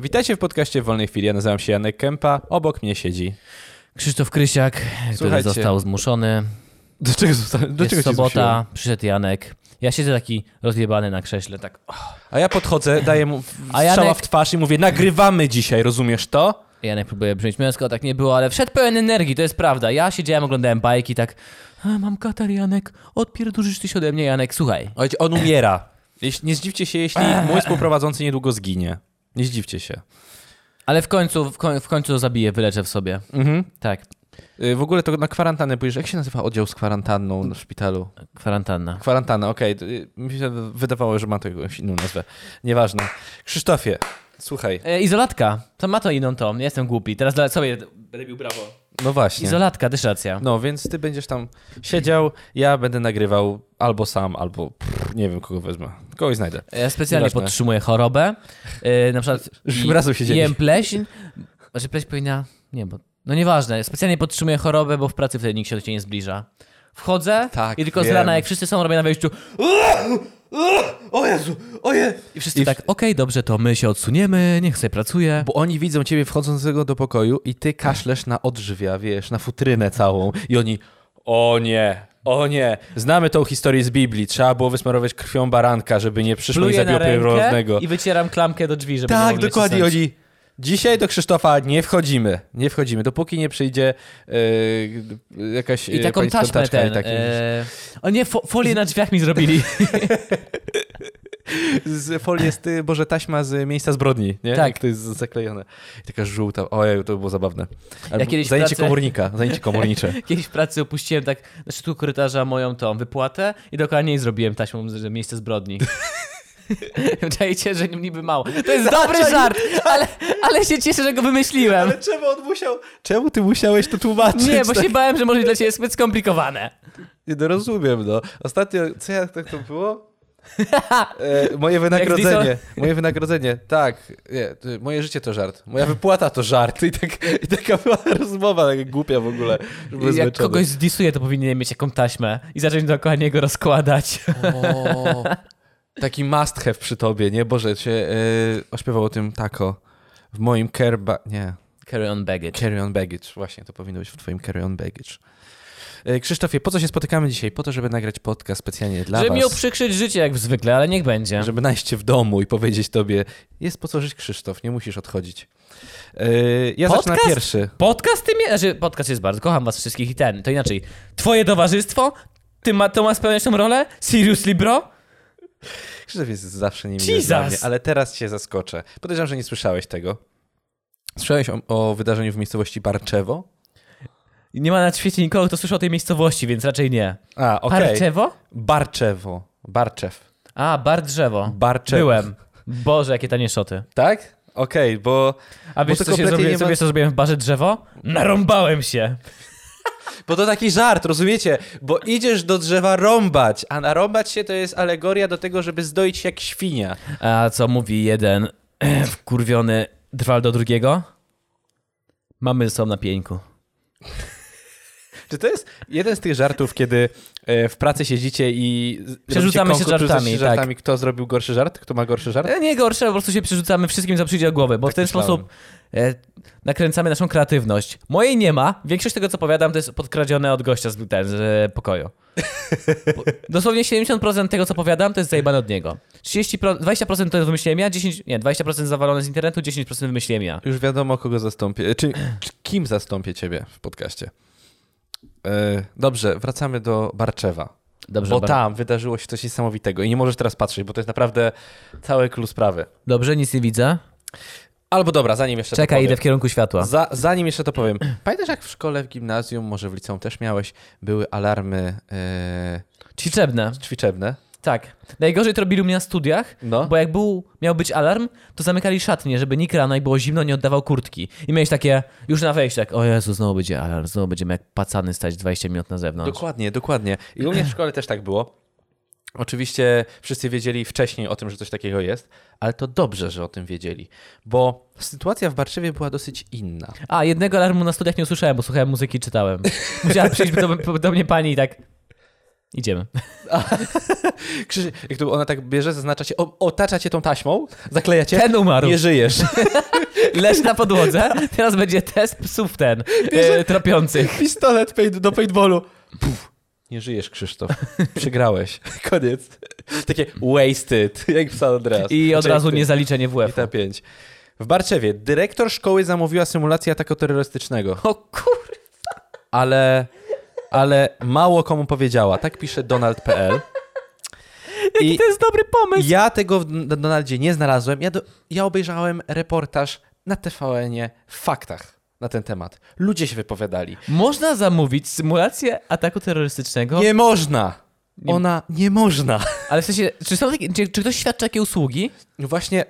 Witajcie w podcaście w Wolnej Chwili. Ja nazywam się Janek Kępa, obok mnie siedzi. Krzysztof Krysiak, który Słuchajcie. został zmuszony. Do czego zostałem? jest sobota, przyszedł Janek. Ja siedzę taki rozjebany na krześle, tak. o, A ja podchodzę, daję mu w- A Janek- strzała w twarz i mówię, nagrywamy dzisiaj, rozumiesz to? Janek próbuje brzmieć męsko, tak nie było, ale wszedł pełen energii, to jest prawda. Ja siedziałem, oglądałem bajki, tak. A, mam katar, Janek, odpierdurzysz tyś ode mnie, Janek, słuchaj. Ojciec, on umiera. Jeś- Nie zdziwcie się, jeśli mój współprowadzący niedługo zginie. Nie zdziwcie się. Ale w końcu, w, koń, w końcu zabiję, wyleczę w sobie. Mhm. Tak, Y, W ogóle to na kwarantannę pójdziesz. Jak się nazywa oddział z kwarantanną w szpitalu? kwarantanna. Kwarantanna, okej. Y, Mi się wydawało, że ma to jakąś inną nazwę. Nieważne. Krzysztofie, słuchaj. E, izolatka, to ma to inną tą, ja jestem głupi. Teraz dla sobie robił brawo. No właśnie. Izolatka, też racja. No, więc ty będziesz tam siedział, ja będę nagrywał albo sam, albo pff, nie wiem, kogo wezmę. Kogoś znajdę. Ja specjalnie Nieważne. podtrzymuję chorobę. Yy, na przykład Żebyśmy razem siedzieli. jem pleśń. Znaczy pleśń powinna... Nie, bo... No nieważne. Specjalnie podtrzymuję chorobę, bo w pracy wtedy nikt się do ciebie nie zbliża. Wchodzę Tak, i tylko wiem. z rana, jak wszyscy są, robię na wejściu O Jezu, oje! i wszyscy I w- tak, okej, dobrze, to my się odsuniemy, niech sobie pracuje. Bo oni widzą ciebie wchodzącego do pokoju i ty kaszlesz na odżywia, wiesz, na futrynę całą i oni, o nie, o nie. Znamy tą historię z Biblii, trzeba było wysmarować krwią baranka, żeby nie przyszło i Pluję na zabiło rękę pierworodnego. i wycieram klamkę do drzwi, żeby nie Tak, mogli dokładnie, wcisnąć. oni... Dzisiaj do Krzysztofa nie wchodzimy, nie wchodzimy, dopóki nie przyjdzie yy, jakaś I yy, taką pani taśmę sprzątaczka i ten... takie- e... O nie, fo folię na drzwiach mi zrobili. z folii jest, y, Boże, taśma z miejsca zbrodni, nie? Tak. Jak To jest zaklejone. I taka żółta. Ojej, to było zabawne. Ale Ja kiedyś w zajęcie pracy- komornika, zajęcie komornicze. Kiedyś w pracy opuściłem tak na szczytu korytarza moją tą wypłatę i dokładnie jej zrobiłem taśmą z- z miejsce zbrodni. Czajcie, że niby mało. To jest dobry żart, ale, ale się cieszę, że go wymyśliłem. czemu on musiał... Czemu ty musiałeś to tłumaczyć? Tak. Nie, bo się bałem, że może być dla ciebie zbyt skomplikowane. Nie, no rozumiem, no. Ostatnio, co ja, tak to było? E, moje Jak wynagrodzenie, moje wynagrodzenie, tak, nie, to- moje życie to żart, moja wypłata to żart i, tak, i taka była rozmowa taka głupia w ogóle, że byłem Jak zmęczony. kogoś zdisuje, to powinien mieć jaką taśmę i zacząć dokładnie go rozkładać. O, taki must have przy tobie, nie? Boże, cię yy, ośpiewał o tym tako. W moim care... Ba- nie, Carry on baggage. carry on baggage. Właśnie, to powinno być w twoim carry on baggage. Yy, Krzysztofie, po co się spotykamy dzisiaj? Po to, żeby nagrać podcast specjalnie dla Żeby was. miał przykrzyć życie jak zwykle, ale niech będzie. Żeby najść cię w domu i powiedzieć tobie, jest po co żyć Krzysztof, nie musisz odchodzić. Yy, ja Podcast? zacznę pierwszy. Podcast tym jest, znaczy podcast jest bardzo, kocham was wszystkich i ten, to inaczej. Twoje towarzystwo, ty ma, to ma spełniać tą rolę? Seriously, bro? Krzysztof jest zawsze niemiły Jesus! dla mnie, ale teraz cię zaskoczę. Podejrzewam, że nie słyszałeś tego. Słyszałeś o, o wydarzeniu w miejscowości Barczewo? Nie ma na świecie nikogo, kto słyszał o tej miejscowości, więc raczej nie. A, okej. Parczewo? Barczewo. Barczew. A, bar drzewo. Barczew. Byłem. Boże, jakie tanie szoty. Tak? Okej, bo, A Bo wiesz, to co, się kompletnie nie zrobiłem, ma- wiesz co zrobiłem w barze drzewo? Narąbałem się. bo to taki żart, rozumiecie? Bo idziesz do drzewa rąbać, a narąbać się to jest alegoria do tego, żeby zdoić się jak świnia. A co mówi jeden wkurwiony drwal do drugiego? Mamy ze sobą na pieńku. Czy to jest jeden z tych żartów, kiedy e, w pracy siedzicie i z- robicie Przerzucamy się konkurs, żartami, tak. się żartami kto zrobił gorszy żart, kto ma gorszy żart? E, Nie gorsze, po prostu się przerzucamy wszystkim, co przyjdzie do głowy, bo w ten myślałem. sposób e, nakręcamy naszą kreatywność. Mojej nie ma. Większość tego, co powiadam, to jest podkradzione od gościa z, ten, z e, pokoju. Bo Dosłownie 70% tego, co powiadam, to jest zajebane od niego. 30%, 20% to wymyśliłem ja, 10, nie, 20% zawalone z internetu, 10% wymyśliłem ja. Już wiadomo, kogo zastąpię. Czy, czy kim zastąpię ciebie w podcaście? E, dobrze, wracamy do Barczewa. Dobrze, Bo bar- tam wydarzyło się coś niesamowitego i nie możesz teraz patrzeć, bo to jest naprawdę całe klucz sprawy. Dobrze, nic nie widzę. Albo dobra, zanim jeszcze to Czekaj, powiem. idę w kierunku światła. Za, zanim jeszcze to powiem. Pamiętasz jak w szkole, w gimnazjum, może w liceum też miałeś, były alarmy Ćwiczebne. e, ćwiczebne? Tak. Najgorzej to robili u mnie na studiach, No. Bo jak był, miał być alarm, to zamykali szatnie, żeby nikt rano i było zimno, nie oddawał kurtki. I miałeś takie, już na wejściu, tak, o Jezu, znowu będzie alarm, znowu będziemy jak pacany stać 20 minut na zewnątrz. Dokładnie, dokładnie. I u mnie w szkole też tak było. Oczywiście wszyscy wiedzieli wcześniej o tym, że coś takiego jest, ale to dobrze, że o tym wiedzieli, bo sytuacja w Barczewie była dosyć inna. A, jednego alarmu na studiach nie usłyszałem, bo słuchałem muzyki i czytałem. Musiała przyjść do, do mnie pani i tak, Idziemy. Krzyży, jak to ona tak bierze, zaznacza cię, o, otacza cię tą taśmą, zakleja cię. Ten umarł. Nie żyjesz. Leż na podłodze. Teraz będzie test psów ten, Bierze- e, tropiących. Pistolet paint, do paintballu. Puf. Nie żyjesz, Krzysztof. Przegrałeś. Koniec. Takie wasted, jak psa od razu. I od razu niezaliczenie I WF. ta pięć. W Barczewie dyrektor szkoły zamówiła symulację ataku terrorystycznego, O kur... ale, ale mało komu powiedziała. Tak pisze Donald.pl. I I... To jest dobry pomysł. ja tego w Don- Donaldzie nie znalazłem. Ja, do, ja obejrzałem reportaż na TVN-ie w faktach na ten temat. Ludzie się wypowiadali. Można zamówić symulację ataku terrorystycznego, Nie można! Ona No. nie można. ale w sensie, czy, są takie, czy, czy ktoś świadczy takie usługi? No właśnie,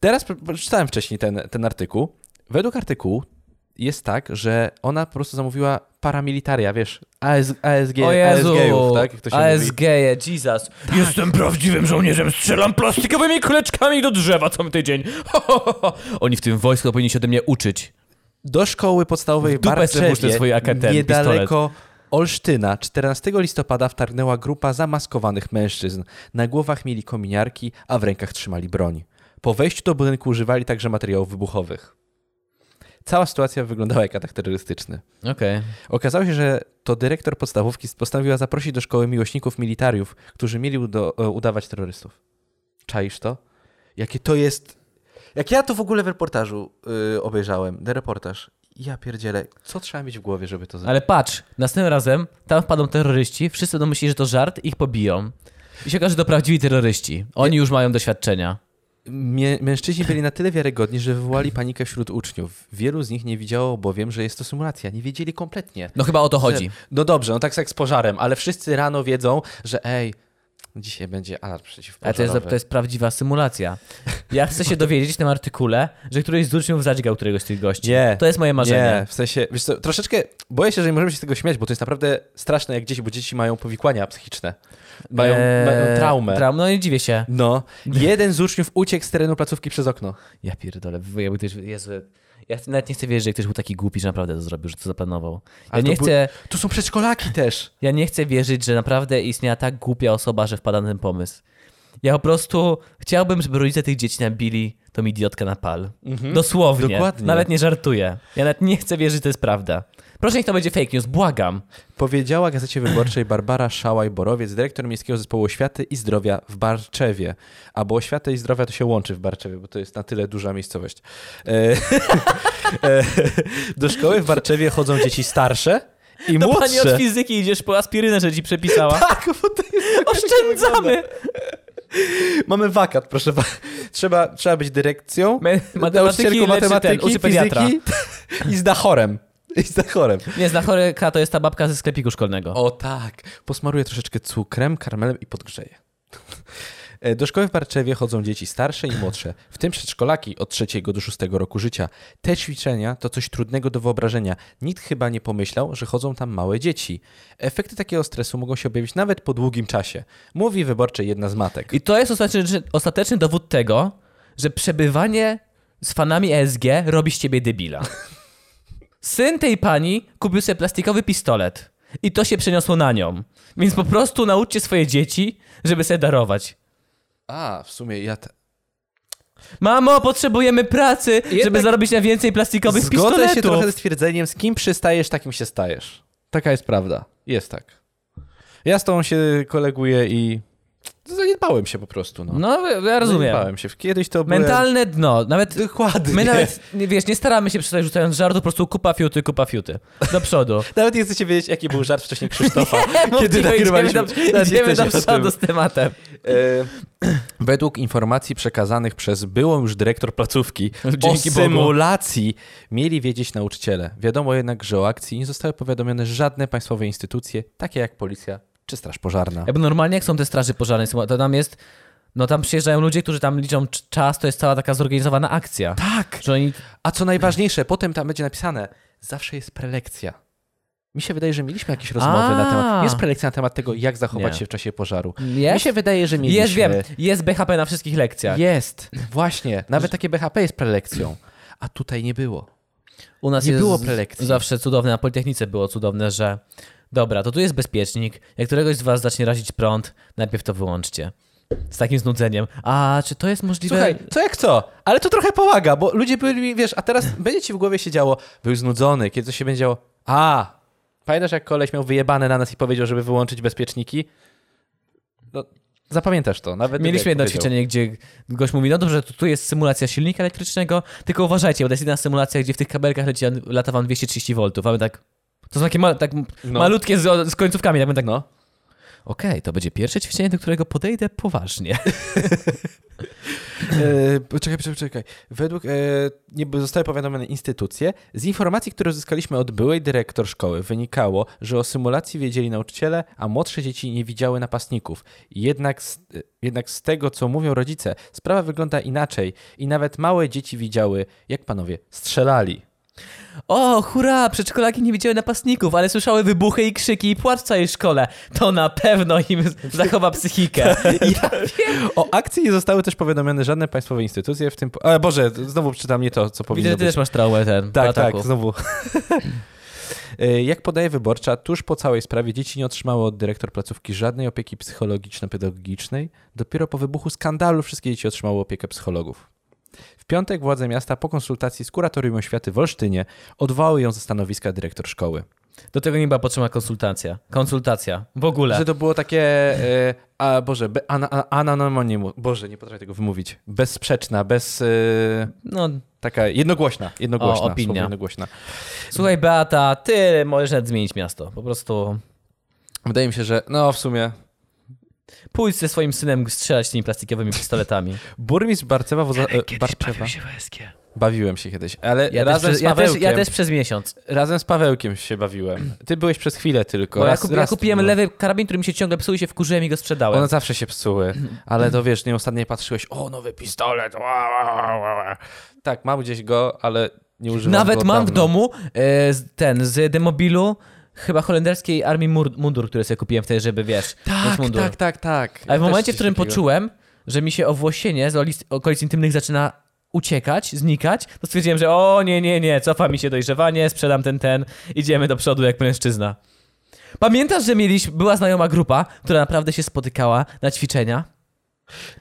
teraz p- p- czytałem wcześniej ten, ten artykuł. Według artykułu jest tak, że ona po prostu zamówiła paramilitaria, wiesz, AS, ASG, o Jezu, ASG-ów, tak? Jak to się mówi. Tak. ASG, Jesus. Jestem prawdziwym żołnierzem, strzelam plastikowymi kuleczkami do drzewa co tydzień. Ho, ho, ho, ho. Oni w tym wojsku powinni się ode mnie uczyć. Do szkoły podstawowej W w dupę sobie swoje Barczewie, AKT, niedaleko Olsztyna, 14 listopada wtargnęła grupa zamaskowanych mężczyzn. Na głowach mieli kominiarki, a w rękach trzymali broń. Po wejściu do budynku używali także materiałów wybuchowych. Cała sytuacja wyglądała jak atak terrorystyczny. Okej. Okazało się, że to dyrektor podstawówki postanowiła zaprosić do szkoły miłośników militariów, którzy mieli udo- e, udawać terrorystów. Czaisz to? Jakie to jest... Jak ja to w ogóle w reportażu y, obejrzałem, ten reportaż, ja pierdzielę, co trzeba mieć w głowie, żeby to zrobić? Ale patrz, następnym razem tam wpadną terroryści, wszyscy będą myśleli, że to żart, ich pobiją. I się okaże, że to prawdziwi terroryści. Oni już mają doświadczenia. Mie- mężczyźni byli na tyle wiarygodni, że wywołali panikę wśród uczniów. Wielu z nich nie widziało bowiem, że jest to symulacja. Nie wiedzieli kompletnie. No chyba o to chodzi. No dobrze, no tak jak z pożarem, ale wszyscy rano wiedzą, że ej, dzisiaj będzie alarm Ale to przeciwpożarowy. jest, to jest prawdziwa symulacja. Ja chcę się dowiedzieć w tym artykule, że któryś z uczniów zadźgał któregoś z tych gości. Nie. To jest moje marzenie. Nie, w sensie, wiesz co, troszeczkę boję się, że nie możemy się z tego śmiać, bo to jest naprawdę straszne jak dzieci, bo dzieci mają powikłania psychiczne. Mają, Eee, mają traumę. Traum, no nie dziwię się. no, jeden z uczniów uciekł z terenu placówki przez okno. Ja pierdolę, wy- jakby ktoś, Jezu, ja nawet nie chcę wierzyć, że ktoś był taki głupi, że naprawdę to zrobił, że to zaplanował. Ja Ale to nie, był- chcę, Tu są przedszkolaki też. ja nie chcę wierzyć, że naprawdę istniała tak głupia osoba, że wpada na ten pomysł. Ja po prostu chciałbym, żeby rodzice tych dzieci nabili tą idiotkę na pal. Dosłownie. Mhm. Dokładnie. Nawet nie żartuję. Ja nawet nie chcę wierzyć, że to jest prawda. Proszę, niech to będzie fake news, błagam. Powiedziała Gazecie Wyborczej Barbara Szałaj-Borowiec, dyrektor Miejskiego Zespołu Oświaty i Zdrowia w Barczewie. A bo oświata i zdrowia to się łączy w Barczewie, bo to jest na tyle duża miejscowość. E, e, do szkoły w Barczewie chodzą dzieci starsze i Do pani od młodsze. fizyki idziesz po aspirynę, że ci przepisała. Tak, bo to jest Oszczędzamy! Mamy wakat, proszę pana. Trzeba, trzeba być dyrekcją, Me- Matematyki, nauczycielką matematyki ten, matematyki, uczy pediatra. fizyki i z dachorem. I z dachorem. Nie, znachoreka to jest ta babka ze sklepiku szkolnego. O tak. Posmaruję troszeczkę cukrem, karmelem i podgrzeję. E, Do szkoły w Barczewie chodzą dzieci starsze i młodsze, w tym przedszkolaki od 3 do 6 roku życia. Te ćwiczenia to coś trudnego do wyobrażenia. Nikt chyba nie pomyślał, że chodzą tam małe dzieci. Efekty takiego stresu mogą się objawić nawet po długim czasie. Mówi wyborcze jedna z matek. I to jest ostateczny, ostateczny dowód tego, że przebywanie z fanami ESG robi z ciebie debila. Syn tej pani kupił sobie plastikowy pistolet. I to się przeniosło na nią. Więc po prostu nauczcie swoje dzieci, żeby sobie darować. A, w sumie ja... Te... Mamo, potrzebujemy pracy, żeby Jednak- zarobić na więcej plastikowych Zgodzę pistoletów. się trochę z twierdzeniem, z kim przystajesz, takim się stajesz. Taka jest prawda. Jest tak. Ja z tą się koleguję i zaniedbałem się po prostu. No, tak. No, ja rozumiem. Zaniedbałem się. Kiedyś to byłem... Mentalne dno. Nawet Dokładnie. my nawet, nie, wiesz, nie staramy się przestać rzucając żartu, po prostu kupa fiuty, kupa fiuty. Do przodu. Nawet nie chcecie wiedzieć, jaki był żart wcześniej Krzysztofa, Mówmy, kiedy nagrywaliśmy. Idziemy do, Nawet nie idziemy do chcecie o tym. przodu z tematem. E, Według informacji przekazanych przez byłą już dyrektor placówki o Dzięki Bogu. symulacji mieli wiedzieć nauczyciele. Wiadomo jednak, że o akcji nie zostały powiadomione żadne państwowe instytucje, takie jak policja czy straż pożarna. Jakby normalnie jak są te straży pożarne, są- to tam jest... No tam przyjeżdżają ludzie, którzy tam liczą c- czas, to jest cała taka zorganizowana akcja. Tak! Że oni... A co najważniejsze, potem tam będzie napisane, zawsze jest prelekcja. Mi się wydaje, że mieliśmy jakieś rozmowy na A. temat. Jest prelekcja na temat tego, jak zachować Nie. się w czasie pożaru. Mi Jest? się wydaje, że mieliśmy. Jest, wiem, jest BHP na wszystkich lekcjach. Jest, właśnie. Nawet takie BHP jest prelekcją. A tutaj nie było. U nas Nie jest było z- prelekcji. Zawsze cudowne, na Politechnice było cudowne, że Dobra, to tu jest bezpiecznik. Jak któregoś z was zacznie razić prąd, najpierw to wyłączcie. Z takim znudzeniem. A czy to jest możliwe? Słuchaj, co jak co? Ale to trochę pomaga, bo ludzie byli, wiesz, a teraz będzie ci w głowie się działo, był znudzony, kiedy coś się będzie działo. A, pamiętasz jak koleś miał wyjebane na nas i powiedział, żeby wyłączyć bezpieczniki? No, zapamiętasz to, nawet Mieliśmy jak jedno powiedział. ćwiczenie, gdzie gość mówi, no dobrze, to tu jest symulacja silnika elektrycznego, tylko uważajcie, bo to jest jedna symulacja, gdzie w tych kabelkach leci, lata wam 230 V, a my tak... To są takie ma, tak No. malutkie z, z końcówkami, tak my tak... No. Okej, to będzie pierwsze ćwiczenie, do którego podejdę poważnie. E, poczekaj, poczekaj, poczekaj. Według, e, nie, bo zostały powiadomione instytucje. Z informacji, które uzyskaliśmy od byłej dyrektor szkoły, wynikało, że o symulacji wiedzieli nauczyciele, a młodsze dzieci nie widziały napastników. Jednak z, e, jednak z tego, co mówią rodzice, sprawa wygląda inaczej i nawet małe dzieci widziały, jak panowie strzelali. O, hurra, przedszkolaki nie widziały napastników, ale słyszały wybuchy i krzyki i płacz w całej szkole. To na pewno im zachowa psychikę. Tak. Ja wiem. O akcji nie zostały też powiadomione żadne państwowe instytucje, w tym... A, Boże, znowu czytam nie to, co powinno Widzę, że ty być. też masz traumę ten, Tak, po ataku. tak, znowu. Y, Jak podaje wyborcza, tuż po całej sprawie dzieci nie otrzymały od dyrektor placówki żadnej opieki psychologiczno-pedagogicznej. Dopiero po wybuchu skandalu wszystkie dzieci otrzymały opiekę psychologów. W piątek władze miasta po konsultacji z kuratorium oświaty w Olsztynie odwołały ją ze stanowiska dyrektor szkoły. Do tego nie była potrzebna konsultacja. Konsultacja. W ogóle. Że to było takie, y, a Boże, be, ana, a- anonimonimu, Boże, nie potrafię tego wymówić, bezsprzeczna, bez, y, No, taka jednogłośna, jednogłośna, opinia. słowo jednogłośna. Słuchaj, Beata, ty możesz nawet zmienić miasto. Po prostu Wydaje mi się, że no w sumie pójdź ze swoim synem strzelać tymi plastikowymi pistoletami. Burmistrz Barcewa... Woza, e, Barczewa. Bawiłem się kiedyś, ale Ja, razem, też, z przez- ja, też, Pawełkiem, ja też przez miesiąc. razem z Pawełkiem się bawiłem. Ty byłeś przez chwilę tylko. Bo ja, raz, kup, raz no. ja kupiłem tylko. lewy karabin, który mi się ciągle psuł i się wkurzyłem i go sprzedałem. One zawsze się psuły, ale to wiesz, nieustannie patrzyłeś, o nowy pistolet. Ła, ła, ła, ła, ła. Tak, mam gdzieś go, ale nie używam go Nawet od mam w dawna. domu e, z- ten z demobilu chyba holenderskiej armii mur, mundur, który sobie kupiłem wtedy, żeby wiesz. mieć Tak, mundur. tak, tak, tak. Ja Ale w też momencie, coś w którym takiego. poczułem, że mi się owłosienie z olis- okolic intymnych zaczyna uciekać, znikać, to stwierdziłem, że o nie, nie, nie, cofa mi się dojrzewanie, sprzedam ten, ten, idziemy do przodu jak mężczyzna. Pamiętasz, że mieliśmy, była znajoma grupa, która naprawdę się spotykała na ćwiczenia?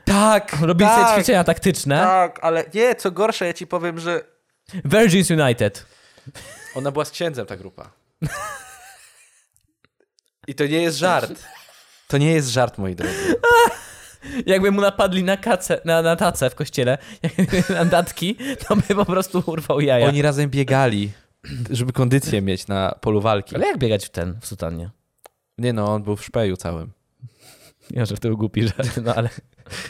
Tak, Robili sobie tak, ćwiczenia taktyczne. tak, ale nie, co gorsze, ja ci powiem, że... Virgins United. Ona była z księdzem, ta grupa. I to nie jest żart. To nie jest żart, moi drodzy. Jakby mu napadli na, kace, na, na tacę w kościele, na datki, to by po prostu urwał jaja. Oni razem biegali, żeby kondycję mieć na polu walki. Ale jak biegać w ten, w sutannie? Nie no, on był w szpeju całym. Ja, że to był głupi żart, no ale...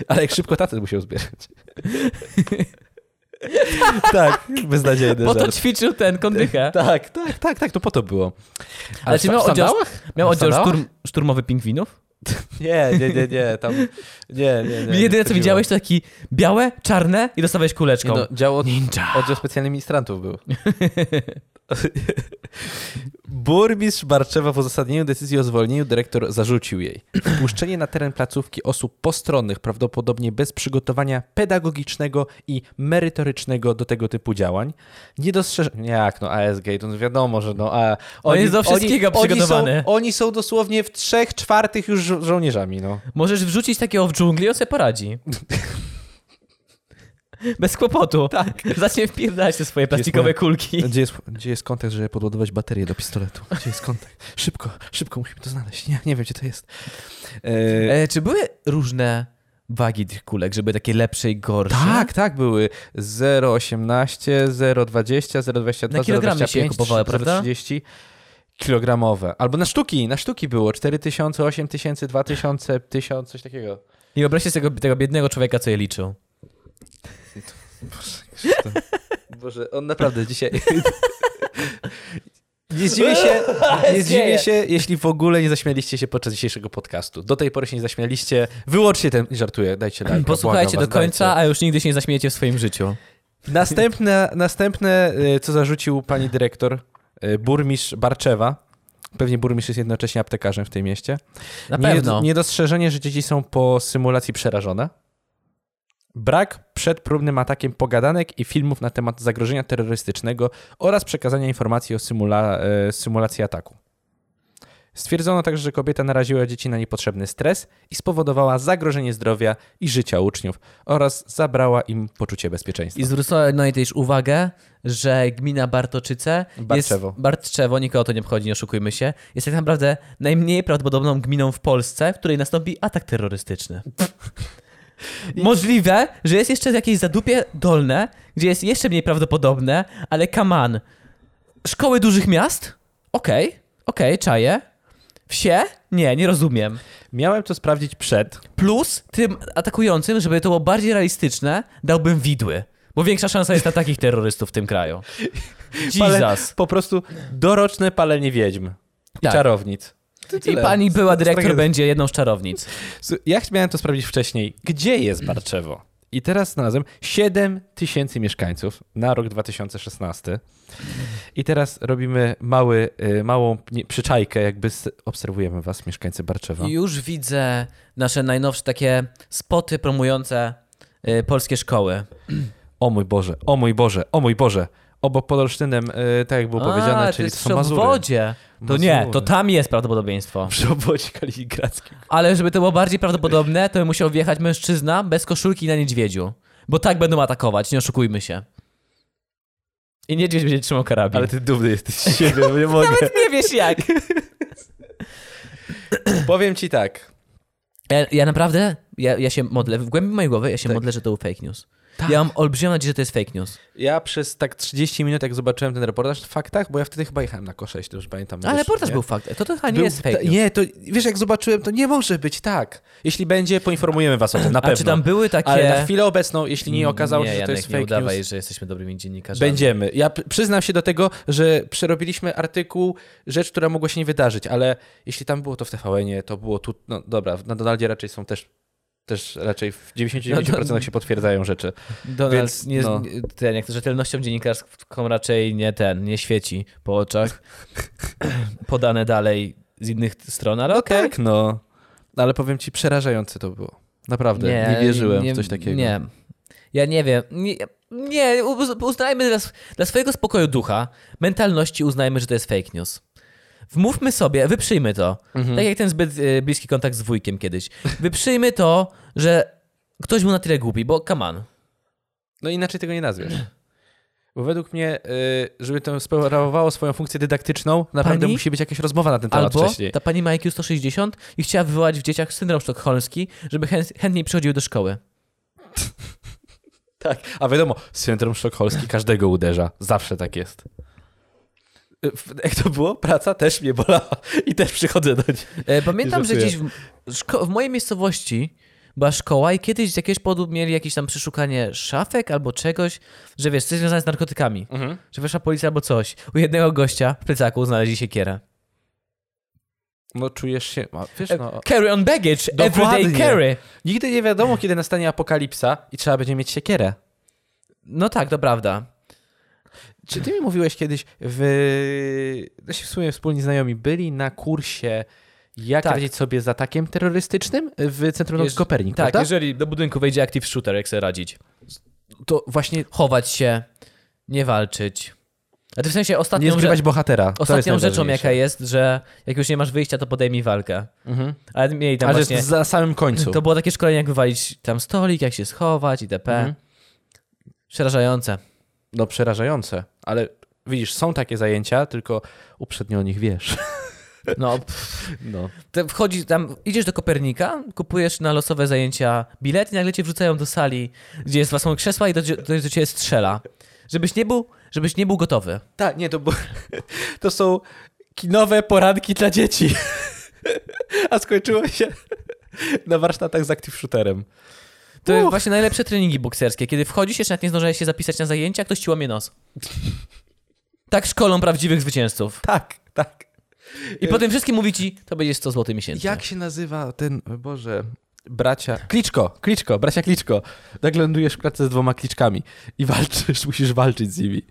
Ale jak szybko tatę musiał zbierać. tak, beznadziejny Po to żart. ćwiczył ten kondychę. Tak, tak, tak, tak, to po to było. Ale czy w- miał w oddział, sandałach? miał W oddział sandałach? szturm, szturmowy pingwinów? Nie, nie, nie, nie, tam, nie, nie, nie. Jedyne co chodziło. widziałeś to taki białe, czarne i dostawałeś Nie, kuleczką. no, dział od, Ninja. oddział specjalnych ministrantów był. Burmistrz Barczewa w uzasadnieniu decyzji o zwolnieniu dyrektor zarzucił jej. Wpuszczenie na teren placówki osób postronnych, prawdopodobnie bez przygotowania pedagogicznego i merytorycznego do tego typu działań. Nie dostrzeżenie. Jak no, ASG, to no wiadomo, że no. A, jest do wszystkiego przygotowany. Oni są, oni są dosłownie w trzech czwartych już żo- żołnierzami, no. Możesz wrzucić takiego w dżungli i on sobie poradzi. Bez kłopotu. Tak. Zacznie wpierdalać te swoje plastikowe moja- kulki. Gdzie jest, gdzie jest kontakt, żeby podładować baterię do pistoletu? Gdzie jest kontakt? Szybko, szybko musimy to znaleźć. Nie, nie wiem, gdzie to jest. E, E, czy były różne wagi tych kulek, żeby takie lepsze i gorsze? tak, tak, były 0,18, 0,20, 0,22, Na kilogramy się 0,25, kupowały, prawda? 0,30 kilogramowe. Albo na sztuki, na sztuki było 4000, 8000, 2000, 1000, coś takiego. I wyobraźcie sobie tego, tego biednego człowieka, co je liczył. Boże, on naprawdę dzisiaj... Nie zdziwię, się, nie zdziwię się, jeśli w ogóle nie zaśmialiście się podczas dzisiejszego podcastu. Do tej pory się nie zaśmialiście. Wyłączcie ten... Żartuję, dajcie lajka. Posłuchajcie do Tak, błagam was, końca, dajcie. a już nigdy się nie zaśmiejecie w swoim życiu. Następne, następne, y, co zarzucił pani dyrektor, y, burmistrz Barczewa. Pewnie burmistrz jest jednocześnie aptekarzem w tym mieście. Na Nie- pewno. Niedostrzeżenie, że dzieci są po symulacji przerażone. Brak przed próbnym atakiem pogadanek i filmów na temat zagrożenia terrorystycznego oraz przekazania informacji o symula, y, symulacji ataku. e, Stwierdzono także, że kobieta naraziła dzieci na niepotrzebny stres i spowodowała zagrożenie zdrowia i życia uczniów oraz zabrała im poczucie bezpieczeństwa. I zwrócono jej też uwagę, że gmina Bartoczyce Bartczewo. jest... Bartczewo, nikogo to nie obchodzi, nie oszukujmy się, jest tak naprawdę najmniej prawdopodobną gminą w Polsce, w której nastąpi atak terrorystyczny. Możliwe, że jest jeszcze jakieś zadupie dolne, gdzie jest jeszcze mniej prawdopodobne, ale kaman. Szkoły dużych miast? Okej, okej, czaję. Wsie? Nie, nie rozumiem Miałem to sprawdzić przed. plus tym atakującym, żeby to było bardziej realistyczne, dałbym widły. Bo większa szansa jest na takich terrorystów w tym kraju. Jesus. po prostu doroczne palenie wiedźm i Tak. czarownic. To I tyle. pani była dyrektor Tragedia. będzie jedną z czarownic. Słu- Ja miałem to sprawdzić wcześniej. Gdzie jest Barczewo? I teraz znalazłem 7 tysięcy mieszkańców na rok 2016. I teraz robimy mały, y, małą nie- przyczajkę, jakby s- obserwujemy was, mieszkańcy Barczewa. Już widzę nasze najnowsze takie spoty promujące y, polskie szkoły. O mój Boże, o mój Boże, o mój Boże. Obok pod Olsztynem, y, tak jak było powiedziane, A, czyli to jest są przy Mazury. obwodzie. To nie, to Mazury. tam jest prawdopodobieństwo. Przy obwodzie kaliningradzkim. Ale żeby to było bardziej prawdopodobne, to by musiał wjechać mężczyzna bez koszulki na niedźwiedziu. Bo tak będą atakować, nie oszukujmy się. I niedźwiedź będzie trzymał karabin. Ale ty dumny jesteś z siebie, bo nie mogę. nie wiesz jak. Powiem ci tak. Ja, ja naprawdę, ja, ja się modlę, w głębi mojej głowy ja Tak. się modlę, że to był fake news. Ja mam olbrzymią nadzieję, że to jest fake news. Ja przez tak 30 minut, jak zobaczyłem ten reportaż w faktach, bo ja wtedy chyba jechałem na Kosze, jeśli dobrze pamiętam. Ale wiesz, reportaż No nie? był fakt. To to chyba nie Był- jest fake ta- news. Nie, to wiesz, jak zobaczyłem, to nie może być tak. Jeśli będzie, poinformujemy was o tym, na A pewno. czy tam były takie... Mm, Ale na chwilę obecną, jeśli nie okazało się, nie, że to Janek, jest nie fake udawaj, news, że jesteśmy dobrymi dziennikarzami. będziemy. Ja p- przyznam się do tego, że przerobiliśmy artykuł, rzecz, która mogła się nie wydarzyć, ale jeśli tam było to w TVN-ie, to było tu, no dobra, na Donaldzie raczej są też, też raczej w No, 99% się potwierdzają rzeczy. Donald, Więc, nie, no. nie- ten, jak to rzetelnością dziennikarską raczej nie ten, nie świeci po oczach. Podane dalej z innych stron, ale No okej. tak, no. Ale powiem ci, przerażające to było. Naprawdę, nie, wierzyłem w coś takiego. Nie, ja nie wiem. Nie, nie uz- uznajmy dla, sw- dla swojego spokoju ducha, mentalności uznajmy, że to jest fake news. Wmówmy sobie, wyprzyjmy to. Mhm. Tak Hmm. jak ten zbyt y, bliski kontakt z wujkiem kiedyś. Wyprzyjmy to, że ktoś był na tyle głupi, bo come on. No inaczej tego nie nazwiesz. Bo według mnie, y, żeby to spełniało swoją funkcję dydaktyczną, naprawdę Pani? musi być jakaś rozmowa na ten temat Albo wcześniej. ta pani ma IQ 160 i chciała wywołać w dzieciach syndrom sztokholmski, żeby chęt, chętniej przychodziły do szkoły. Tak. A wiadomo, syndrom sztokholmski każdego uderza. Zawsze tak jest. Y, w- Jak to było? Praca też mnie bolała i też przychodzę do niej. E, Pamiętam, Nie że żartuję. gdzieś w, szko- w mojej miejscowości była szkoła i kiedyś z jakiegoś powodu mieli jakieś tam przeszukanie szafek albo czegoś, że wiesz, coś związane z narkotykami, Mhm. że weszła policja albo coś. U jednego gościa w plecaku znaleźli siekierę. No czujesz się... A, wiesz, E, no, Carry on baggage, everyday Dokładnie. carry. nigdy nie wiadomo, kiedy nastanie apokalipsa i trzeba będzie mieć siekierę. No tak, to prawda. Czy ty mi mówiłeś kiedyś w... Nasi w sumie wspólni znajomi byli na kursie jak Tak. radzić sobie z atakiem terrorystycznym w Centrum Jeż- Nauki Kopernik, tak, prawda? jeżeli do budynku wejdzie active shooter, jak sobie radzić. To właśnie Chować się, nie walczyć. A ty w sensie nie ostatnią, zgrywać bohatera. To ostatnią jest rzeczą, jaka najważniejsze. jest, że jak już nie masz wyjścia, to podejmij walkę. Mhm. Ale mieli tam Ale właśnie... jest za samym końcu. To było takie szkolenie, jak wywalić tam stolik, jak się schować itp. Mhm. Przerażające. No przerażające, ale widzisz, są takie zajęcia, tylko uprzednio o nich wiesz. No, pff, No. to wchodzi tam, idziesz do Kopernika, kupujesz na losowe zajęcia bilet i nagle cię wrzucają do sali, gdzie jest własne krzesła i do, do, do ciebie strzela. Żebyś nie był, żebyś nie był gotowy. Tak, nie, to, bo, to są kinowe poranki dla dzieci. A skończyło się na warsztatach z active shooterem. To jest Uch. właśnie najlepsze treningi bokserskie. Kiedy wchodzisz, jeszcze nawet nie zdążyłeś się zapisać na zajęcia, ktoś ci łamie nos. Tak szkolą prawdziwych zwycięzców. Tak, tak. I po tym wszystkim mówi ci, to będzie 100 zł miesięcznie. Jak się nazywa ten, o Boże, bracia... Kliczko, Kliczko, bracia Kliczko. Nagle lądujesz w klatce z dwoma Kliczkami i walczysz, musisz walczyć z nimi.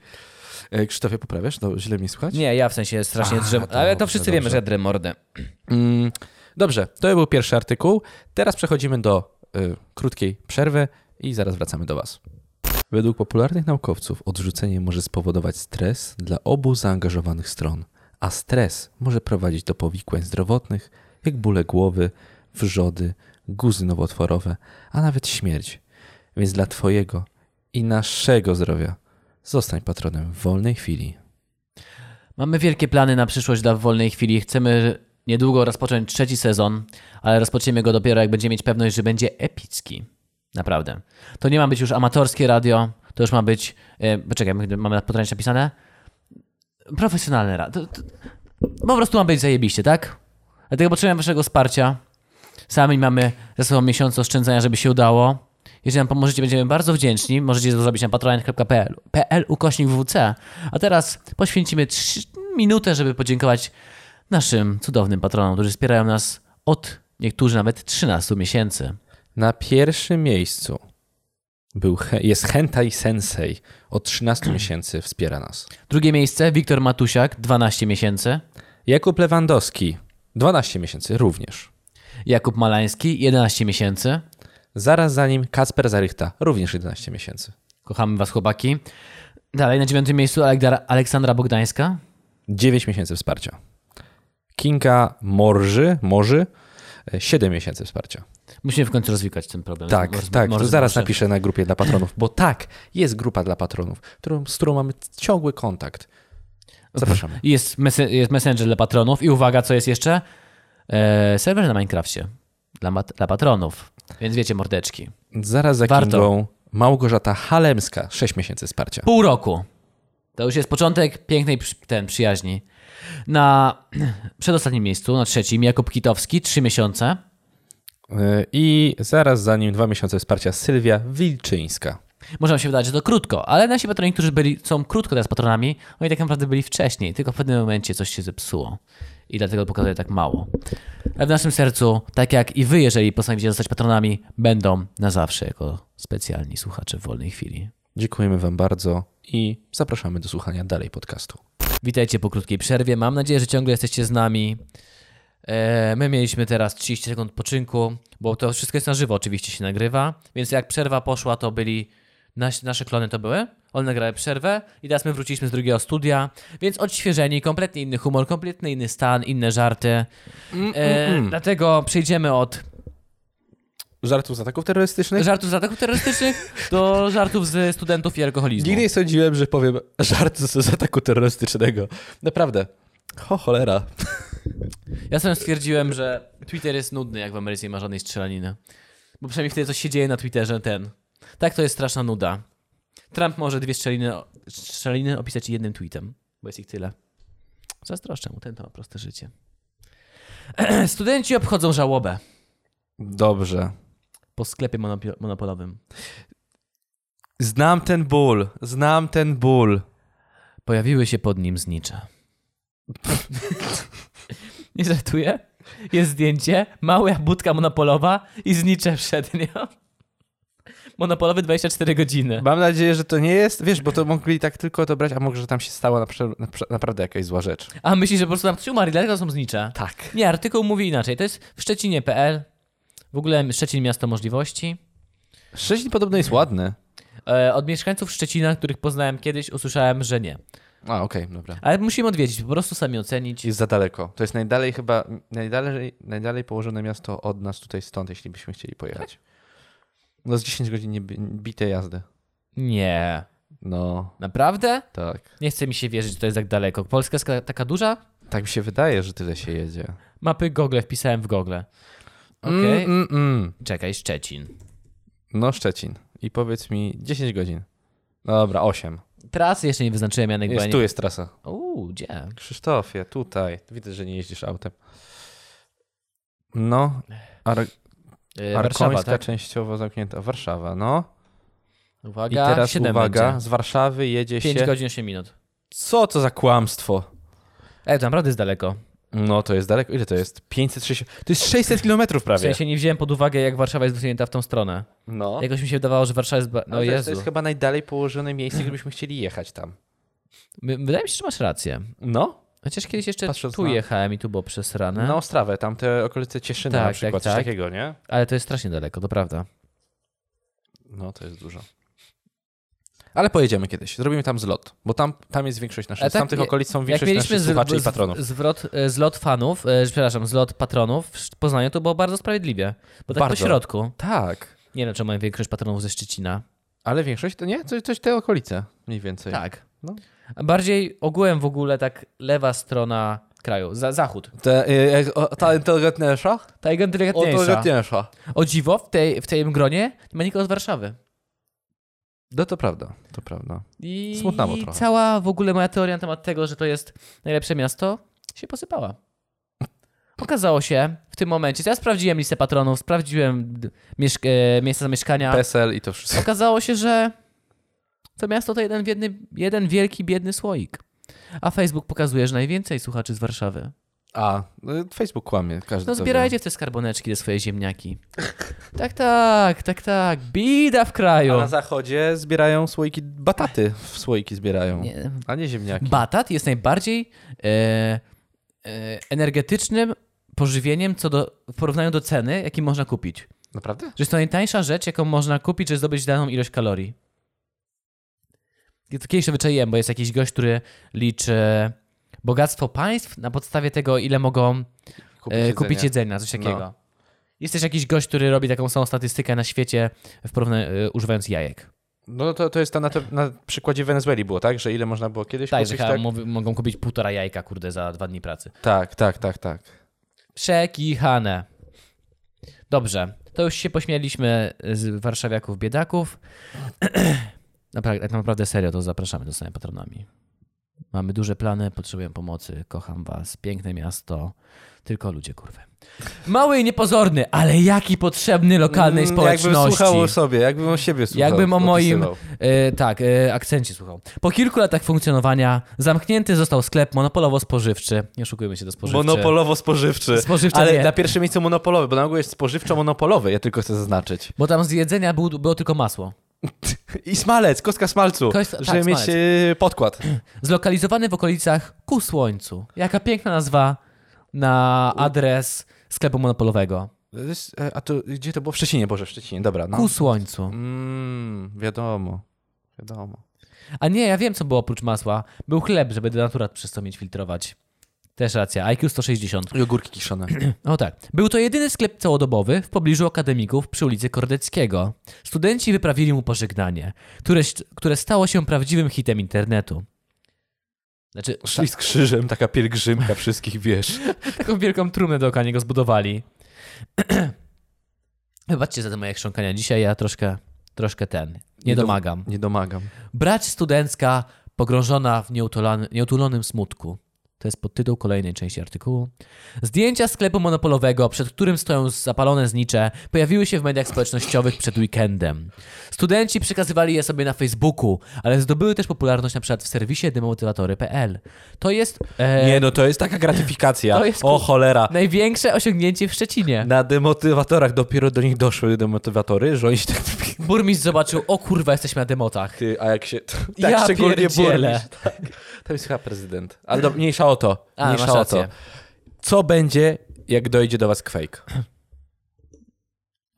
E, Krzysztofie, poprawiasz? No, źle mnie słychać? Nie, ja w sensie strasznie A, drzem... to Ale to dobrze, wszyscy wiemy, dobrze. że ja drę mordę. Mm, dobrze, to był pierwszy artykuł. Teraz przechodzimy do y, krótkiej przerwy i zaraz wracamy do Was. Według popularnych naukowców odrzucenie może spowodować stres dla obu zaangażowanych stron, a stres może prowadzić do powikłań zdrowotnych, jak bóle głowy, wrzody, guzy nowotworowe, a nawet śmierć. Więc dla Twojego i naszego zdrowia zostań patronem w wolnej chwili. Mamy wielkie plany na przyszłość dla wolnej chwili. Chcemy niedługo rozpocząć trzeci sezon, ale rozpoczniemy go dopiero jak będziemy mieć pewność, że będzie epicki. Naprawdę. To nie ma być już amatorskie radio, to już ma być. E, poczekaj, my- mamy na podręcz napisane? Profesjonalne radio. To, to, po prostu ma być zajebiście, tak? Dlatego potrzebujemy Waszego wsparcia. Sami mamy ze sobą miesiąc oszczędzania, żeby się udało. Jeżeli nam pomożecie, będziemy bardzo wdzięczni. Możecie to zrobić na patronite.pl pl ukośnik wwc. A teraz poświęcimy 3 minutę, żeby podziękować naszym cudownym patronom, którzy wspierają nas od niektórzy nawet 13 miesięcy. Na pierwszym miejscu był, he- jest Hentai Sensei. Od 13 miesięcy wspiera nas. Drugie miejsce Wiktor Matusiak, 12 miesięcy. Jakub Lewandowski, 12 miesięcy również. Jakub Malański, 11 miesięcy. Zaraz za nim Kacper Zarychta, również 11 miesięcy. Kochamy was chłopaki. Dalej na dziewiątym miejscu Alegdar- Aleksandra Bogdańska. 9 miesięcy wsparcia. Kinga Morży, Morzy, 7 miesięcy wsparcia. Musimy w końcu rozwikać ten problem. Tak, Mor- tak, mor- to zaraz mor- napiszę na grupie dla patronów, bo tak, jest grupa dla patronów, którą, z którą mamy ciągły kontakt. Zapraszamy. Jest, messe- jest Messenger dla patronów i uwaga, co jest jeszcze? E, serwer na Minecrafcie dla, mat- dla patronów. Więc wiecie, mordeczki. Zaraz za Warto. Kingą Małgorzata Halemska, 6 miesięcy wsparcia. Pół roku. To już jest początek pięknej przy, ten, przyjaźni. Na przedostatnim miejscu, na trzecim, Jakub Kitowski, trzy miesiące. Y, I zaraz za nim 2 miesiące wsparcia Sylwia Wilczyńska. Może wam się wydawać, że to krótko, ale nasi patroni, którzy byli, są krótko teraz patronami, oni tak naprawdę byli wcześniej, tylko w pewnym momencie coś się zepsuło. I dlatego pokazuje tak mało. Ale w naszym sercu, tak jak i wy, jeżeli postanowicie zostać patronami, będą na zawsze jako specjalni słuchacze w wolnej chwili. Dziękujemy Wam bardzo i zapraszamy do słuchania dalej podcastu. Witajcie po krótkiej przerwie. Mam nadzieję, że ciągle jesteście z nami. E, My mieliśmy teraz 30 sekund odpoczynku, bo to wszystko jest na żywo, oczywiście się nagrywa. Więc jak przerwa poszła, to byli nasi, nasze klony to były. One nagrały przerwę i teraz my wróciliśmy z drugiego studia, więc odświeżeni, kompletnie inny humor, kompletnie inny stan, inne żarty. Mm, E, dlatego przejdziemy od Żartów z ataków terrorystycznych? żartów z ataków terrorystycznych do żartów ze studentów i alkoholizmu. Nigdy nie sądziłem, że powiem żart z, z ataku terrorystycznego. Naprawdę. Ho, cholera. Ja sam stwierdziłem, że Twitter jest nudny, jak w Ameryce nie ma żadnej strzelaniny. Bo przynajmniej wtedy coś się dzieje na Twitterze, ten. Tak to jest straszna nuda. Trump może dwie strzeliny, strzeliny opisać jednym tweetem, bo jest ich tyle. Zazdroszczę mu, ten to ma proste życie. Studenci obchodzą żałobę Dobrze. po sklepie monopio- monopolowym. Znam ten ból, znam ten ból. Pojawiły się pod nim znicze. nie żartuję? Jest zdjęcie, mała budka monopolowa i znicze przed nią. Monopolowy 24 godziny. Mam nadzieję, że to nie jest, wiesz, bo to mogli tak tylko to brać, a może że tam się stała na, prze- na, prze- naprawdę jakaś zła rzecz. A myślisz, że po prostu tam ktoś umarł i dlatego są znicze? Tak. Nie, artykuł mówi inaczej. To jest w Szczecinie.pl. W ogóle Szczecin miasto możliwości. Szczecin podobno jest ładny. E, od mieszkańców Szczecina, których poznałem kiedyś, usłyszałem, że nie. A, okej, dobra. Ale musimy odwiedzić, po prostu sami ocenić. Jest za daleko. To jest najdalej chyba, najdalej, najdalej położone miasto od nas tutaj stąd, jeśli byśmy chcieli pojechać. No z 10 godzin nie bi- bite jazdy. Nie. No, Naprawdę? tak. Nie chce mi się wierzyć, że to jest tak daleko. Polska jest ka- taka duża? Tak mi się wydaje, że tyle się jedzie. Mapy Google wpisałem w Google. Okej. Mm, mm, mm. Czekaj, Szczecin. No Szczecin. I powiedz mi 10 godzin. No Dobra, 8. Trasy jeszcze nie wyznaczyłem, Janek, bo ja Jest, nie... tu jest trasa. Uuu, gdzie? Krzysztofie, tutaj. Widzę, że nie jeździsz autem. No, Ar- Yy, Warszawa, Arkońska tak? częściowo zamknięta. Warszawa, no. I Uwaga, teraz 7 uwaga, Będzie. z Warszawy jedzie 5 się... godzin 8 minut. Co to za kłamstwo? Ej, to naprawdę jest daleko. No, to jest daleko. Ile to jest? 560... To jest 600 kilometrów W prawie. sensie nie wziąłem pod uwagę, jak Warszawa jest wysunięta w tą stronę. No. Jakoś mi się wydawało, że Warszawa jest... Ba... No Ale to, jest- Jezu. to jest chyba najdalej położone miejsce, gdybyśmy chcieli jechać tam. My- Wydaje mi się, że masz rację. No, Chociaż kiedyś jeszcze Patrząc tu na- jechałem i tu było przesrane. na Ostrawę, tam te okolice Cieszyna Tak, na przykład, tak, coś tak. takiego, nie? Ale to jest strasznie daleko, to prawda. No, to jest dużo. Ale pojedziemy kiedyś, zrobimy tam zlot, bo tam, tam jest większość naszych, Ale z tak, tamtych je- okolic są Jak większość mieliśmy naszych z, słuchaczy i patronów. z, zwrot, e, zlot fanów, e, przepraszam, zlot patronów w Poznaniu, to było bardzo sprawiedliwie. Bo tak Bardzo. po środku. Tak, Nie wiem, czy mamy większość patronów ze Szczecina. ale większość to nie? Coś, coś te okolice mniej więcej. Tak. No. A Bardziej ogółem w ogóle tak lewa strona kraju, za, zachód. Te, y, y, o, ta inteligentniejsza? Ta inteligentniejsza. Inteligentniejsza. O dziwo, w, tej, w tym gronie nie ma nikogo z Warszawy. No to prawda, to prawda. I Smutnało trochę. cała w ogóle moja teoria na temat tego, że to jest najlepsze miasto, się posypała. Okazało się w tym momencie, to ja sprawdziłem listę patronów, sprawdziłem d- mieszk- e, miejsca zamieszkania. PSL i to wszystko. Okazało się, że to miasto to jeden, biedny, jeden wielki, biedny słoik. A Facebook pokazuje, że najwięcej słuchaczy z Warszawy. A, y, Facebook kłamie, każdy No to wie. zbierajcie w te skarboneczki te swoje ziemniaki. Tak, tak, tak, tak. Bida w kraju. A na zachodzie zbierają słoiki, bataty w słoiki zbierają, Nie, a nie ziemniaki. Batat jest najbardziej e, e, energetycznym pożywieniem co do, w porównaniu do ceny, jaki można kupić. Że Naprawdę? jest to najtańsza rzecz, jaką można kupić, żeby zdobyć daną ilość kalorii. Ja to kiedyś to wyczaiłem, bo jest jakiś gość, który liczy bogactwo państw na podstawie tego, ile mogą kupić, e, kupić jedzenia, coś takiego. No. Jest też jakiś gość, który robi taką samą statystykę na świecie w porównaniu, e, używając jajek. No to, to jest ta na, te, na przykładzie Wenezueli było, tak? Że ile można było kiedyś Tak, że kupić? chyba Tak? mowy- mogą kupić półtora jajka, kurde, za dwa dni pracy. tak, tak, tak, tak. Przekichane. Dobrze, to już się pośmialiśmy z warszawiaków biedaków. Napra- tak naprawdę serio, to zapraszamy do stania patronami. Mamy duże plany, potrzebuję pomocy, kocham was, piękne miasto, tylko ludzie kurwy. Mały i niepozorny, ale jaki potrzebny lokalnej Mm, Jakbym społeczności. słuchał o sobie, jakbym o siebie słuchał. Jakbym o moim- opisywał. E, tak, e, akcencie słuchał. Po kilku latach funkcjonowania zamknięty został sklep monopolowo-spożywczy. Nie oszukujmy się do spożywczy. Monopolowo-spożywczy. Spożywczy Ale nie. na pierwszym miejscu monopolowy, bo na ogół jest spożywczo-monopolowy, ja tylko chcę zaznaczyć. Bo tam z jedzenia był, było tylko masło. I smalec, kostka smalcu, Kos- tak, żeby mieć smalec. e, podkład. Zlokalizowany w okolicach ku słońcu. Jaka piękna nazwa na adres sklepu monopolowego. To jest, e, A to gdzie to było? W Szczecinie, Boże, w Szczecinie, dobra. No. Ku słońcu. Mm, wiadomo, wiadomo. A nie, ja wiem, co było oprócz masła. Był chleb, żeby denaturat przez to mieć filtrować. Też racja. IQ 160. I ogórki kiszone. O tak. Był to jedyny sklep całodobowy w pobliżu akademików przy ulicy Kordeckiego. Studenci wyprawili mu pożegnanie, które, które stało się prawdziwym hitem internetu. Znaczy, Szli z krzyżem, taka pielgrzymka wszystkich, wiesz. Taką wielką trumnę dookoła niego zbudowali. Wybaczcie za te moje chrząkania. Dzisiaj ja troszkę, troszkę ten, nie, Nie do- domagam. Nie domagam. Brać studencka pogrążona w nieutulan- nieutulonym smutku. To jest podtytuł kolejnej części artykułu. Zdjęcia sklepu monopolowego, przed którym stoją zapalone znicze, pojawiły się w mediach społecznościowych przed weekendem. Studenci przekazywali je sobie na Facebooku, ale zdobyły też popularność na przykład w serwisie demotywatory.pl. To jest e, Nie, no to jest taka gratyfikacja. To jest o kur- cholera. największe osiągnięcie w Szczecinie. Na demotywatorach dopiero do nich doszły demotywatory, że oni się tak... Burmistrz zobaczył, o kurwa, jesteśmy na demotach. Ty, a jak się... Tak Ja pierdzielę. burmistrz, Tak. To jest chyba prezydent. Ale do, mniejsza o to. A, mniejsza masz o to. rację. Co będzie, jak dojdzie do was Quake?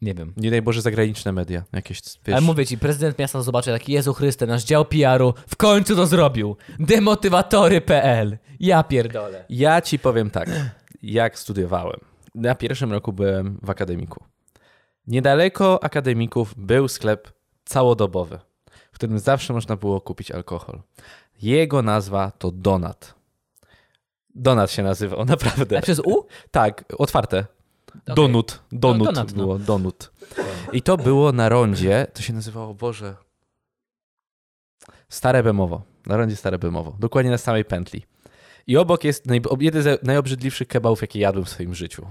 Nie wiem. Nie daj Boże zagraniczne media. Jakieś, wiesz... Ale mówię ci, prezydent miasta zobaczy taki, Jezu Chryste, nasz dział PR-u w końcu to zrobił. Demotywatory.pl. Ja pierdolę. Ja ci powiem tak, jak studiowałem. Na pierwszym roku byłem w akademiku. Niedaleko akademików był sklep całodobowy, w którym zawsze można było kupić alkohol. Jego nazwa to Donat. Donat się nazywał, naprawdę. A przez U? Tak, otwarte. Donut, donut donut, Tak. no. było, donut. I to było na rondzie, to się nazywało, Boże, Stare Bemowo. Na rondzie Stare Bemowo, dokładnie na samej pętli. I obok jest naj, ob- jeden z najobrzydliwszych kebabów, jakie jadłem w swoim życiu.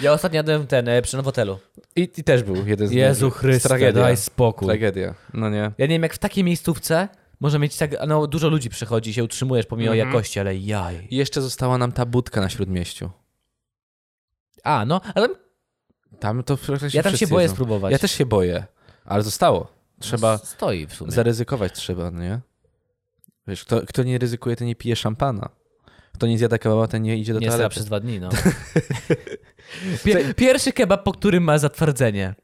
Ja ostatnio jadłem ten, e, przy Nowotelu. I, I też był jeden z Jezu Chryste, tragedia. daj spokój. Tragedia, no nie. Ja nie wiem, jak w takiej miejscówce może mieć tak, no dużo ludzi przychodzi i się utrzymujesz pomimo Mhm. jakości, ale jaj. I jeszcze została nam ta budka na Śródmieściu. A, no, ale Tam to praktycznie ja tam się wszyscy boję jedzą. spróbować. Ja też się boję, ale zostało. Trzeba, Stoi w sumie. Zaryzykować trzeba, no nie? Wiesz, kto, kto nie ryzykuje, ten nie pije szampana. Kto nie zjada kebaba, ten nie idzie do Nie sra toalety. przez dwa dni, no. Pier- Pierwszy kebab, po którym ma zatwardzenie.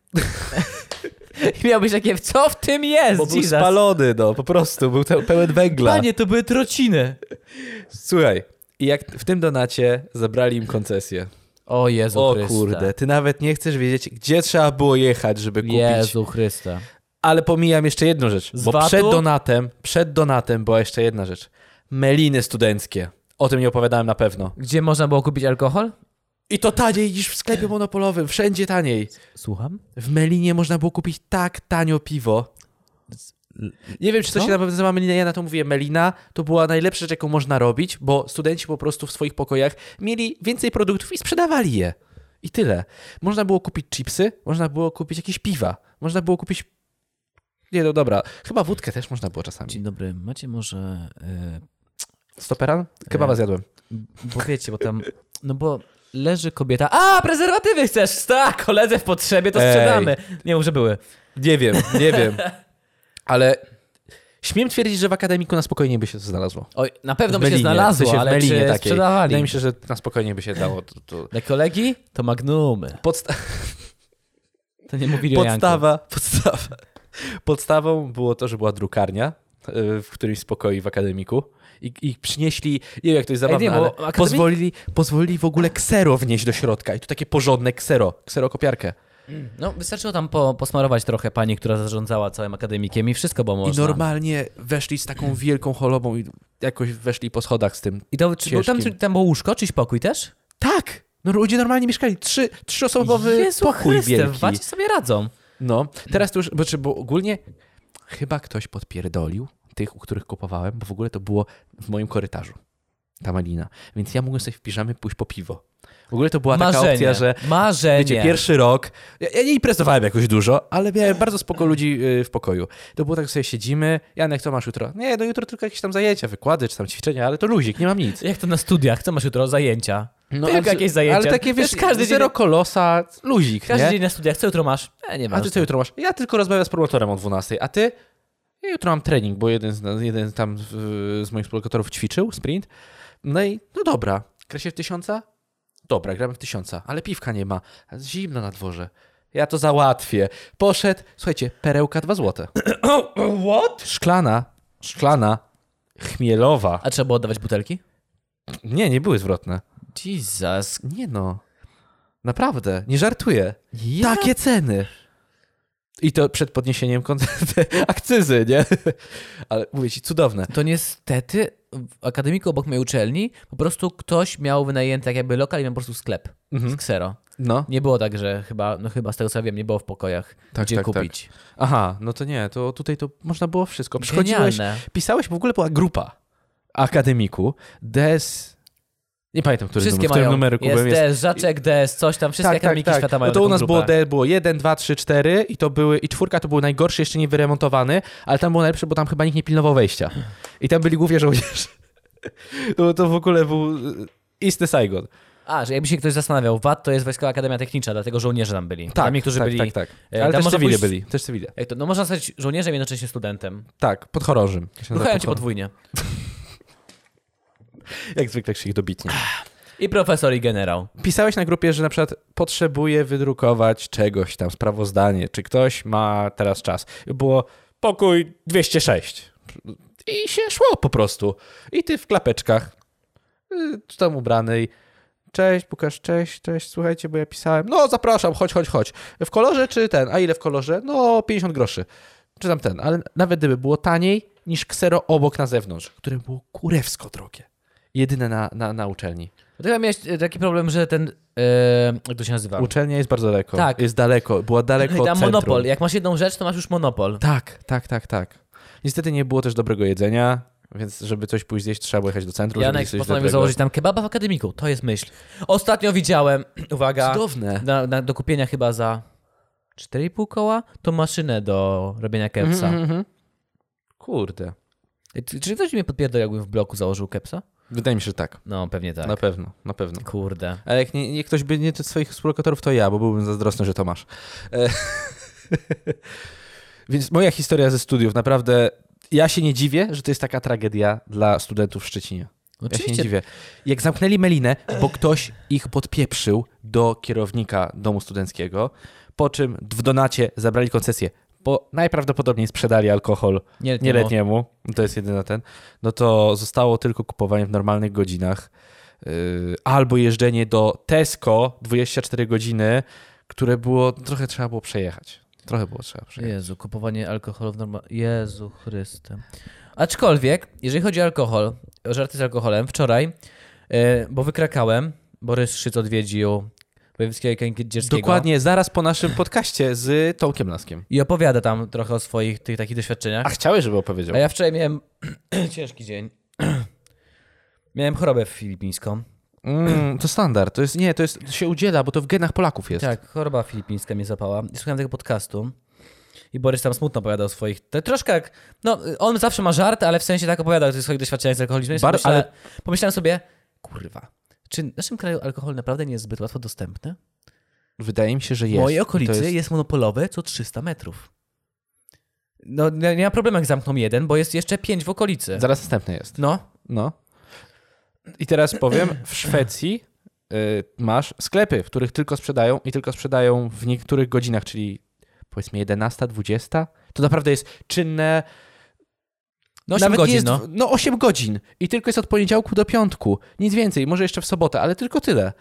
I miałbyś takie, co w tym jest, Bo był Jesus? spalony, no, po prostu, był te- pełen węgla. Panie, to były trociny. Słuchaj, i jak w tym donacie zabrali im koncesję. O Jezu O Chryste. kurde, ty nawet nie chcesz wiedzieć, gdzie trzeba było jechać, żeby kupić. Jezu Chryste. Ale pomijam jeszcze jedną rzecz, Z bo VAT-u? przed donatem, przed donatem była jeszcze jedna rzecz. Meliny studenckie. O tym nie opowiadałem na pewno. Gdzie można było kupić alkohol? I to taniej niż w sklepie monopolowym, wszędzie taniej. Słucham? W Melinie można było kupić tak tanio piwo. Nie wiem, czy to Co? się na pewno nazywa Melina. Ja na to mówię Melina. To była najlepsza rzecz, jaką można robić, bo studenci po prostu w swoich pokojach mieli więcej produktów i sprzedawali je. I tyle. Można było kupić chipsy, można było kupić jakieś piwa, można było kupić... Nie, no dobra. Chyba wódkę też można było czasami. Dzień dobry, macie może... e, Stoperan? Kebaba zjadłem. Bo wiecie, bo tam... No bo leży kobieta... A, prezerwatywy chcesz! Tak, koledze w potrzebie, to Ej. sprzedamy. Nie, może były. Nie wiem, nie wiem. Ale śmiem twierdzić, że w akademiku na spokojnie by się to znalazło. Oj, na pewno W by się Melinie, w znalazło, sensie w ale Melinie czy takiej. sprzedawali? Wydaje mi się, że na spokojnie by się dało. To, to... Dla kolegi to magnumy. Podsta- To nie mówili o Janku. Podstawa, podstawa. Podstawą było to, że była drukarnia y, w którymś z pokoi w akademiku i, i przynieśli, nie wiem jak to jest Ej, nie, zabawne, bo ale akademik- pozwolili, pozwolili w ogóle ksero wnieść do środka i to takie porządne ksero, kserokopiarkę. No, wystarczyło tam po, posmarować trochę pani, która zarządzała całym akademikiem i wszystko było można. I normalnie weszli z taką wielką holobą i jakoś weszli po schodach z tym. I to, czy, był tam, Ciężkim. czy, tam było łóżko, czyś pokój też? Tak! No ludzie normalnie mieszkali, trzy, trzyosobowy Jezu pokój Chryste, wielki. wacie sobie radzą. No, teraz to już, bo, czy- bo ogólnie chyba ktoś podpierdolił tych, u których kupowałem, bo w ogóle to było w moim korytarzu. Ta malina. Więc ja mogłem sobie w piżamy pójść po piwo. W ogóle to była taka Marzenie, opcja, że marzenie. wiecie, pierwszy rok, ja, ja nie imprezowałem jakoś dużo, ale miałem bardzo spoko ludzi y, w pokoju. To było tak, że sobie siedzimy, Janek, co masz jutro? Nie, no jutro tylko jakieś tam zajęcia, wykłady czy tam ćwiczenia, ale to luzik, nie mam nic. Jak to na studiach? Co masz jutro? Zajęcia. No, Tylko ale- jakieś zajęcia. Ale takie, wiesz, Też każdy każdy zero dzień, kolosa, luzik, każdy nie? dzień na studiach. Co jutro masz? E, nie A masz. ty co jutro masz? Ja tylko rozmawiam z promotorem o 12, a ty? Ja jutro mam trening, bo jeden, z- jeden tam z- z moich promotorów ćwiczył, sprint. No i no dobra, kresie w tysiąca? Dobra, gramy w tysiąca, ale piwka nie ma. Zimno na dworze. Ja to załatwię. Poszedł, słuchajcie, perełka 2 złote. What? Szklana, szklana, chmielowa. A trzeba było oddawać butelki? Nie, nie były zwrotne. Jesus. Nie no. Naprawdę, nie żartuję. Ja... Takie ceny. I to przed podniesieniem kon- akcyzy, nie? Ale mówię ci, cudowne. To niestety w akademiku obok mojej uczelni po prostu ktoś miał wynajęty tak jakby lokal i miał po prostu sklep Mhm. z ksero. No. Nie było tak, że chyba, no chyba z tego co ja wiem, nie było w pokojach, Tak, gdzie tak, tak. kupić. Aha, no to nie, to tutaj to można było wszystko. Przychodziłeś, Genialne. pisałeś, bo w ogóle była grupa akademiku, DS... Nie pamiętam, który Wszystkie numer, w którym mają. numerku jest, byłem. jest. DS, Żaczek, DS, coś tam, wszystkie akademiki świata mają No to u taką nas grupę. było, D- było 1, 2, 3, 4 i to były, i czwórka to był najgorszy, jeszcze nie wyremontowany, ale tam było najlepsze, bo tam chyba nikt nie pilnował wejścia. I tam byli głównie żołnierze. No to w ogóle był y, istny Saigon. A, że jakby się ktoś zastanawiał, VAT to jest Wojskowa Akademia Techniczna, dlatego żołnierze tam byli. tam niektórzy byli. tak, tak, e, tak. Ale tam też można cywile pójść- byli, też cywile. Jak to, no można stać żołnierzem i jednocześnie studentem. Tak, pod chorążym. Ruchają cię podwójnie. Jak zwykle jak się ich dobitnie. I profesor, i generał. Pisałeś na grupie, że na przykład potrzebuje wydrukować czegoś tam, sprawozdanie, czy ktoś ma teraz czas. Było pokój 206. I się szło po prostu. I ty w klapeczkach, y, czy tam ubranej. Cześć, Łukasz, cześć, cześć, słuchajcie, bo ja pisałem. No, zapraszam, chodź, chodź, chodź. W kolorze czy ten? A ile w kolorze? No, 50 groszy. Czy tam ten, ale nawet gdyby było taniej niż ksero obok na zewnątrz, które było kurewsko drogie. Jedyne na, na, na uczelni. Bo Ty miałeś e, taki problem, że ten, e, jak to się nazywa? Uczelnia jest bardzo daleko. Tak. No Jest daleko, była daleko I od tam centrum. monopol. Jak masz jedną rzecz, to masz już monopol. Tak, tak, tak, tak. Niestety nie było też dobrego jedzenia, więc żeby coś pójść zjeść, trzeba było jechać do centrum, Janek żeby coś postanowił dobrego. założyć tam kebaba w akademiku. To jest myśl. Ostatnio widziałem, uwaga, Cudowne. na, na, do kupienia chyba za 4,5 koła, to maszynę do robienia kepsa. Mhm, mhm. Kurde. Czy- Czy ktoś mnie podpierdolił, jakbym w bloku założył kepsa? Wydaje mi się, że tak. No, pewnie tak. Na pewno, na pewno. Kurde. Ale jak nie, nie ktoś by nie tych swoich współlokatorów, to ja, bo byłbym zazdrosny, że to masz. E... Więc moja historia ze studiów, naprawdę, ja się nie dziwię, że to jest taka tragedia dla studentów w Szczecinie. Ja się nie Oczywiście. dziwię. Jak zamknęli Melinę, bo ktoś ich podpieprzył do kierownika domu studenckiego, po czym w donacie zabrali koncesję. bo najprawdopodobniej sprzedali alkohol Nieletniemu. nieletniemu, to jest jedyny ten, no to zostało tylko kupowanie w normalnych godzinach yy, albo jeżdżenie do Tesco 24 godziny, które było, trochę trzeba było przejechać. Trochę było trzeba przejechać. Jezu, kupowanie alkoholu w normalnym... Jezu Chryste. Aczkolwiek, jeżeli chodzi o alkohol, o żarty z alkoholem, wczoraj, e, bo wykrakałem, Borys Szyc odwiedził wojewódzkiego kędzierskiego. Dokładnie zaraz po naszym podcaście z Tomkiem Laskiem. I opowiada tam trochę o swoich tych takich doświadczeniach. A chciałeś, żeby opowiedział. A ja wczoraj miałem ciężki dzień. miałem chorobę filipińską. Mm, to standard. To jest, nie, to, jest, to się udziela, bo to w genach Polaków jest. Tak, choroba filipińska mnie zapała. I słuchałem tego podcastu. I Borys tam smutno opowiadał o swoich. Te, troszkę jak. No, on zawsze ma żart, ale w sensie tak opowiadał o tych swoich doświadczeniach z alkoholizmem. I sobie Bar- myślę, ale- Pomyślałem sobie, kurwa, czy w naszym kraju alkohol naprawdę nie jest zbyt łatwo dostępny? Wydaje mi się, że W jest. mojej To okolicy jest... jest... monopolowe co 300 metrów. No, nie, nie ma problemu, jak zamkną jeden, bo jest jeszcze pięć w okolicy. Zaraz następny jest. No, No. I teraz powiem, w Szwecji y, masz sklepy, w których tylko sprzedają i tylko sprzedają w niektórych godzinach, czyli powiedzmy 11, 20. To naprawdę jest czynne. no 8 nie godzin, jest, no. no 8 godzin. I tylko jest od poniedziałku do piątku. Nic więcej, może jeszcze w sobotę, ale tylko tyle.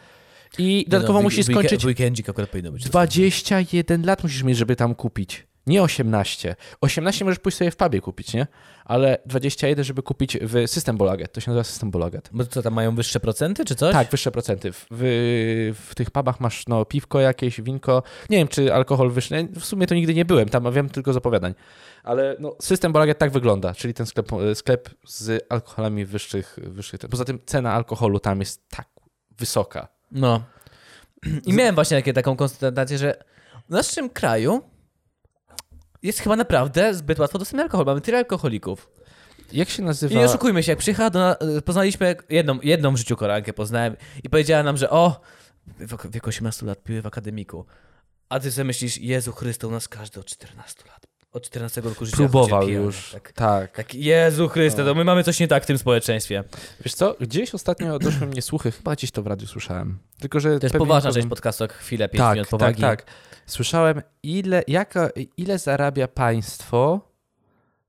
I dodatkowo no, w- musisz w weeke- skończyć W weekendzik akurat powinno być. 21 lat musisz mieć, żeby tam kupić. Nie 18. 18 możesz pójść sobie w pubie kupić, nie? Ale 21, żeby kupić w System Bolaget. To się nazywa System Bolaget. Bo co, tam mają wyższe procenty, czy coś? Tak, wyższe procenty. W, w, w tych pubach masz no, piwko jakieś, winko. Nie wiem, czy alkohol wyższy. W sumie to nigdy nie byłem, tam wiem tylko z opowiadań. Ale no, system Bolaget tak wygląda, czyli ten sklep, e, sklep z alkoholami wyższych. wyższych. Poza tym cena alkoholu tam jest tak wysoka. No. I miałem właśnie takie, taką konstatację, że w naszym kraju jest chyba naprawdę zbyt łatwo dostępny alkohol. Mamy tyle alkoholików. Jak się I nazywa? nie oszukujmy się, jak przyjechała do nas, poznaliśmy jak- jedną, jedną w życiu Koreankę, poznałem i powiedziała nam, że o, w, w wieku 18 lat piły w akademiku. A ty sobie myślisz, Jezu Chryste, u nas każdy od 14 lat, od 14 roku życia Próbował chodzi pijany. już. No. Tak. tak. tak, Jezu Chryste, to my mamy coś nie tak w tym społeczeństwie. Wiesz co, gdzieś ostatnio doszły mnie słuchy, chyba gdzieś to w radiu słyszałem. Tylko, że To jest pewnie poważna to- część podcastu, jak chwilę, 5 tak, minut tak, powagi. tak. Słyszałem, ile, jaka, ile zarabia państwo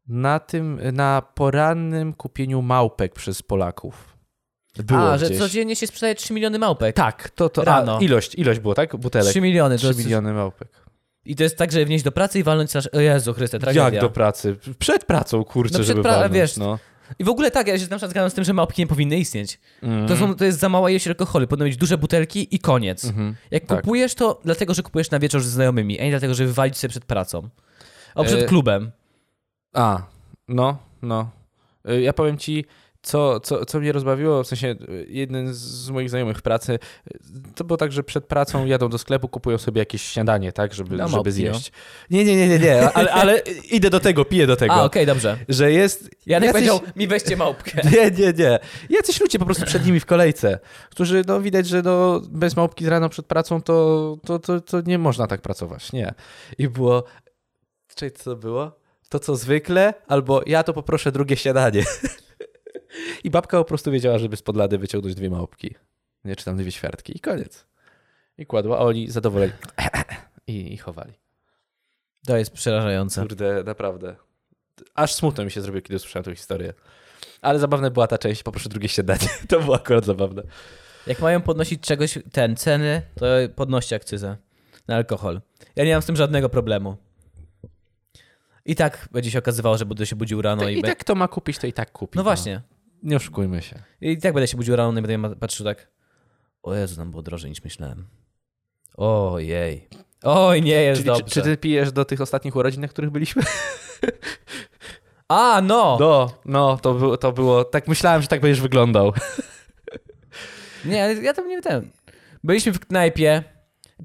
na tym, na porannym kupieniu małpek przez Polaków. Było A, że gdzieś. codziennie się sprzedaje 3 miliony małpek. Tak, to, to Rano. A, ilość, ilość było, tak? Butelek. 3 miliony. To Trzy jest... miliony małpek. I to jest tak, że wnieść do pracy i walnąć nasz... O Jezu Chryste, tragedia. Jak do pracy? Przed pracą, kurczę, No przed żeby pra- walnąć, wiesz, no. I w ogóle tak, ja się na przykład zgadzam z tym, że małpki nie powinny istnieć. Mm. To, są, to jest za mała ilość alkoholu, powinno mieć duże butelki i koniec. Mhm. Jak tak. kupujesz, to dlatego, że kupujesz na wieczór ze znajomymi, a nie dlatego, żeby walić sobie przed pracą. O, przed E, klubem. A, no, no. Y, Ja powiem ci, co, co, co mnie rozbawiło, w sensie y, jeden z- z moich znajomych w pracy, y, to było tak, że przed pracą jadą do sklepu, kupują sobie jakieś śniadanie, tak, żeby, No, żeby małpki, zjeść. Nie, nie, nie, nie, nie, ale, ale idę do tego, piję do tego, A, okej, dobrze. że jest... Janek jacyś- powiedział, mi weźcie małpkę. Nie, nie, nie. Jacyś ludzie po prostu przed nimi w kolejce, którzy, no widać, że no, bez małpki z rano przed pracą to, to, to, to nie można tak pracować, nie. I było, czyli co to było? To co zwykle, albo ja to poproszę drugie śniadanie. I babka po prostu wiedziała, żeby spod lady wyciągnąć dwie małpki, nie, czy tam dwie ćwiartki i koniec. I kładła, a oni zadowoleni i, i chowali. To jest przerażające. Kurde, naprawdę. Aż smutno mi się zrobiło, kiedy usłyszałem tę historię. Ale zabawna była ta część, poproszę drugie śniadanie. To było akurat zabawne. Jak mają podnosić czegoś, ten, ceny, to podnoście akcyzę na alkohol. Ja nie mam z tym żadnego problemu. I tak będzie się okazywało, że będę się budził rano i, I be- tak kto ma kupić, to i tak kupi. No właśnie. Nie oszukujmy się. I tak będę się budził rano i będę ma- patrzył tak. O Jezu, nam było drożej niż myślałem. Ojej. Oj, nie jest Czyli, czy, dobrze. czy ty pijesz do tych ostatnich urodzin, na których byliśmy? A, no! No, no, to, było, to było... Tak myślałem, że tak będziesz wyglądał. Nie, ale ja tam nie wiem. Byliśmy w knajpie.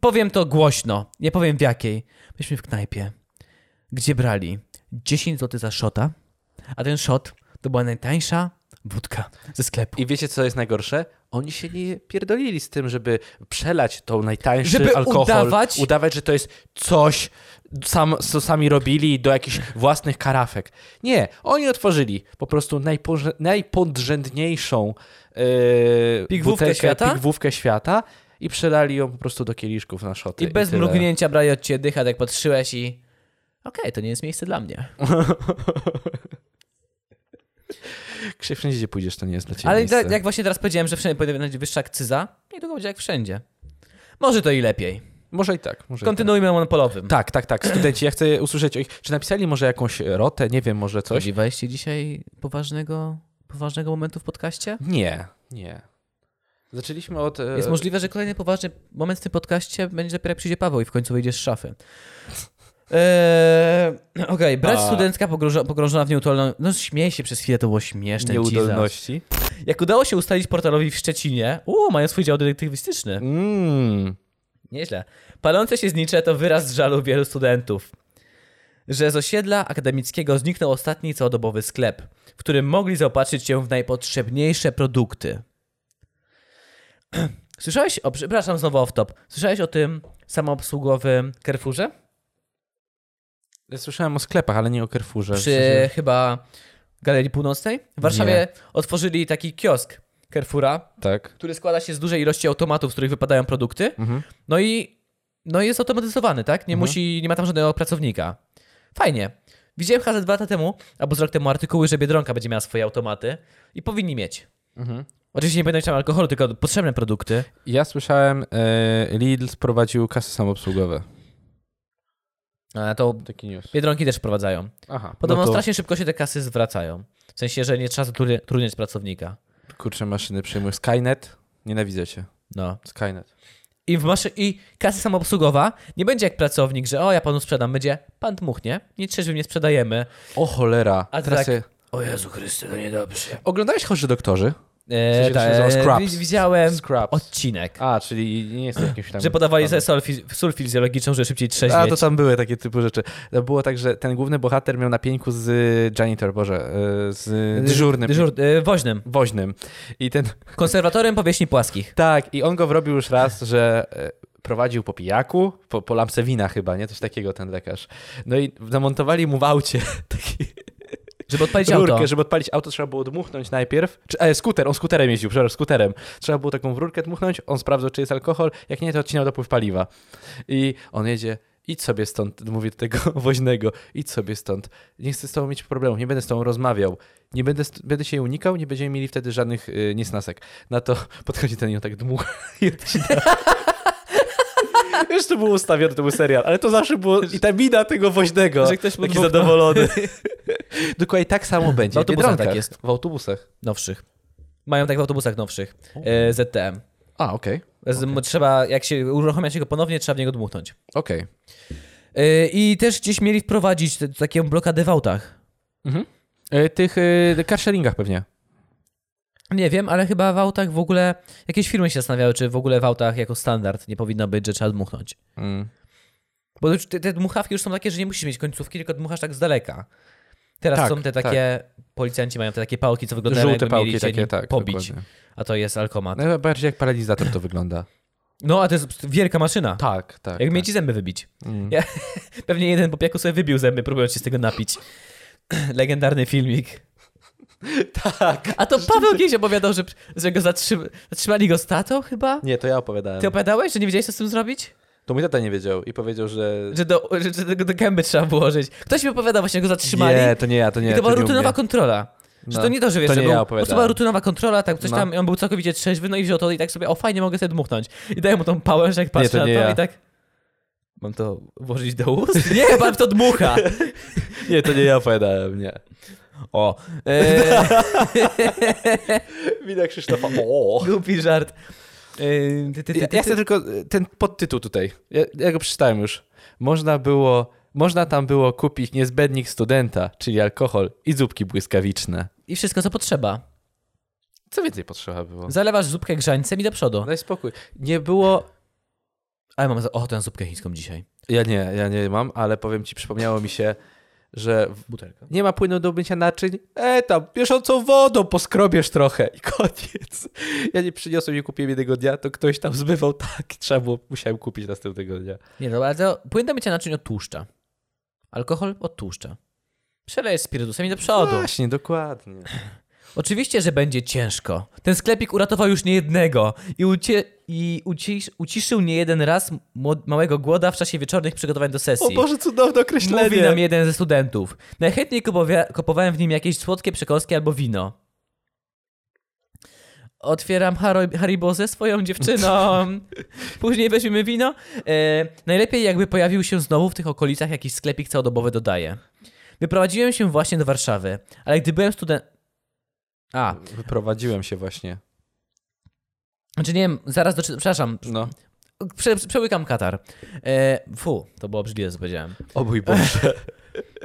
Powiem to głośno. Nie powiem w jakiej. Byliśmy w knajpie, gdzie brali 10 zł za szota, a ten szot to była najtańsza wódka ze sklepu. I wiecie, co jest najgorsze? Oni się nie pierdolili z tym, żeby przelać tą najtańszy Żeby alkohol. udawać- udawać, że to jest coś, sam, co sami robili do jakichś własnych karafek. Nie, oni otworzyli po prostu najporze- najpodrzędniejszą yy, Pigwówkę butelkę, świata? pigwówkę świata i przelali ją po prostu do kieliszków na szoty. I bez tyle. mrugnięcia brali od ciebie dycha, tak patrzyłeś i... okej, to nie jest miejsce dla mnie. Krzyk wszędzie, gdzie pójdziesz, to nie jest dla ciebie Ale miejsce. da- jak właśnie teraz powiedziałem, że wszędzie powinna być wyższa akcyza, niedługo będzie jak wszędzie. Może to i lepiej. Może i tak. Może i tak. Kontynuujmy monopolowym. tak, tak, tak. Studenci, ja chcę usłyszeć o ich... Czy napisali może jakąś rotę, nie wiem, może coś? Spodziewałeś się dzisiaj poważnego, poważnego momentu w podcaście? Nie, nie. Zaczęliśmy od... e, Jest możliwe, że kolejny poważny moment w tym podcaście będzie dopiero jak przyjdzie Paweł i w końcu wyjdziesz z szafy. Eee, Okej, brać A. studencka pogrążo- pogrążona w nieudolności. No śmiej się przez chwilę, to było śmieszne. Jesus. Nieudolności. Jak udało się ustalić portalowi w Szczecinie, uuu, mają swój dział detektywistyczny. Mm. Nieźle. Palące się znicze to wyraz żalu wielu studentów, że z osiedla akademickiego zniknął ostatni całodobowy sklep, w którym mogli zaopatrzyć się w najpotrzebniejsze produkty. Słyszałeś o, przepraszam, znowu off-top. Słyszałeś o tym samoobsługowym Carrefourze? Ja słyszałem o sklepach, ale nie o Carrefourze. W sensie- Przy chyba Galerii Północnej? W Warszawie otworzyli taki kiosk Carrefoura, Tak. który składa się z dużej ilości automatów, z których wypadają produkty. Mhm. No i no i jest automatyzowany, tak? Nie Mhm. musi, nie ma tam żadnego pracownika. Fajnie. Widziałem chyba ze dwa lata temu, albo z rok temu artykuły, że Biedronka będzie miała swoje automaty i powinni mieć. Mhm. Oczywiście nie będą mieć tam alkoholu, tylko potrzebne produkty. Ja słyszałem, e, Lidl sprowadził kasy samoobsługowe. A to Taki news. Biedronki też wprowadzają. Aha. Podobno no to, strasznie szybko się te kasy zwracają. W sensie, że nie trzeba zatru- trudniać pracownika. Kurczę, maszyny przyjmują. Skynet? Nienawidzę cię. No. Skynet. I, w maszy- I kasa samoobsługowa nie będzie jak pracownik, że o, ja panu sprzedam. Będzie, pan dmuchnie, nie trzeźwym nie sprzedajemy. O cholera. A Teraz tak- ja- O Jezu Chryste, to niedobrze. Oglądałeś Chorzy Doktorzy? E, sensie to się tak, nazywa e, Scraps. Widziałem Scraps. odcinek, A, czyli nie jest jakimś tam... że podawali sobie sól, fiz- sól fizjologiczną, żeby szybciej A, to trzeźwieć. tam były takie typu rzeczy. To było tak, że ten główny bohater miał na pieńku z y, janitor, boże, y, z y, dyżurnym. Dyżur, e, woźnym. Woźnym. I ten... Konserwatorem powierzchni płaskich. Tak, i on go wrobił już raz, że e, prowadził po pijaku, po, po lampce wina chyba, nie? Coś takiego ten lekarz. No i zamontowali mu w aucie taki Żeby odpalić rurkę, auto. żeby odpalić auto, trzeba było dmuchnąć najpierw. Czy, e, skuter, on skuterem jeździł, przepraszam, skuterem. Trzeba było taką w rurkę dmuchnąć, on sprawdzał, czy jest alkohol, jak nie, to odcinał dopływ paliwa. I on jedzie, idź sobie stąd, mówię do tego woźnego, idź sobie stąd. Nie chcę z tobą mieć problemu, nie będę z tobą rozmawiał. Nie będę, st- będę się jej unikał, nie będziemy mieli wtedy żadnych y, niesnasek. Na to podchodzi ten i on tak dmucha i odcina. Już to było ustawione, to był serial, ale to zawsze było i ta mina tego woźnego. Że ktoś mu taki dmuchnął. zadowolony. Dokładnie tak samo będzie. W autobusach Biedronkach. tak jest. W autobusach. Nowszych. Mają tak w autobusach nowszych. E, ZTM. A, okej. Z, Trzeba, jak się uruchamia się go ponownie, trzeba w niego dmuchnąć. Okej. E, I też gdzieś mieli wprowadzić t- taką blokadę w autach. E, Y, Tych y, carsharingach pewnie. Nie wiem, ale chyba w autach w ogóle... Jakieś firmy się zastanawiały, czy w ogóle w autach jako standard nie powinno być, że trzeba dmuchnąć. Mm. Bo już te, te dmuchawki już są takie, że nie musisz mieć końcówki, tylko dmuchasz tak z daleka. Teraz Tak, są te tak. takie, policjanci mają te takie pałki, co wyglądają Żółte jakby pałki mieli cię takie, nim tak. pobić, No, dokładnie. a to jest alkomat. Najbardziej jak paralizator to wygląda. No, a to jest wielka maszyna. Tak, tak. Jak tak. mieć ci zęby wybić. Mm. Ja, pewnie jeden popiaku sobie wybił zęby, próbując się z tego napić. Legendarny filmik. Tak. A to Paweł kiedyś opowiadał, że, że go zatrzyma, zatrzymali go statą chyba? Nie, to ja opowiadałem. Ty opowiadałeś, że nie wiedziałeś, co z tym zrobić? To mój tata nie wiedział i powiedział, że... Że do, że, że do, do gęby trzeba włożyć. Ktoś mi opowiadał właśnie, że go zatrzymali. Nie, to nie ja, to nie I ja. to była nie u rutynowa mnie. kontrola. Że No, to nie to, że wiesz, to że nie był, ja po prostu była opowiadałem. rutynowa kontrola, tak, coś No. tam, i on był całkowicie trzeźwy, no i wziął to i tak sobie, o fajnie, mogę sobie dmuchnąć. I daję mu tą pałę, że jak patrzę to na to nie ja. i tak... Mam to włożyć do ust? Nie, pan w to dmucha! Nie, to nie ja opowiadałem, nie. O, e, Widać Krzysztofa. O. głupi żart. E, ty, ty, ty, Ja, ty, No. ja ty. chcę tylko y, ten podtytuł tutaj. Ja, ja go przeczytałem już. Można było... Można tam było kupić niezbędnik studenta, czyli alkohol i zupki błyskawiczne. I wszystko, co potrzeba. Co więcej potrzeba było? No. Zalewasz zupkę grzańcem i do przodu. Daj spokój. Nie było. Ale mam za- ochotę na zupkę chińską dzisiaj. Ja nie, ja nie mam, ale powiem ci, przypomniało mi się, że w- Butelka. nie ma płynu do mycia naczyń. E, tam bieżącą wodą poskrobiesz trochę i koniec. Ja nie przyniosłem, nie kupiłem jednego dnia, to ktoś tam zmywał tak. Trzeba było, musiałem kupić następnego dnia. Nie, no, ale to płyn do mycia naczyń odtłuszcza. Alkohol odtłuszcza. Przelejesz spirytusem i do przodu. Właśnie, dokładnie. Oczywiście, że będzie ciężko. Ten sklepik uratował już niejednego i, ucie- i ucisz- uciszył niejeden raz młod- małego głoda w czasie wieczornych przygotowań do sesji. O Boże, cudowne Mówi określenie. nam jeden ze studentów. Najchętniej kupowia- kupowałem w nim jakieś słodkie przekąski albo wino. Otwieram Haro- Haribo ze swoją dziewczyną. Później weźmiemy wino. E, najlepiej jakby pojawił się znowu w tych okolicach jakiś sklepik całodobowy dodaje. Wyprowadziłem się właśnie do Warszawy, ale gdy byłem student... A, Wyprowadziłem się właśnie. znaczy nie wiem, zaraz doczy... Przepraszam, No. prze- przełykam Katar. E, fu, to było obrzydliwe, co powiedziałem. O mój Boże.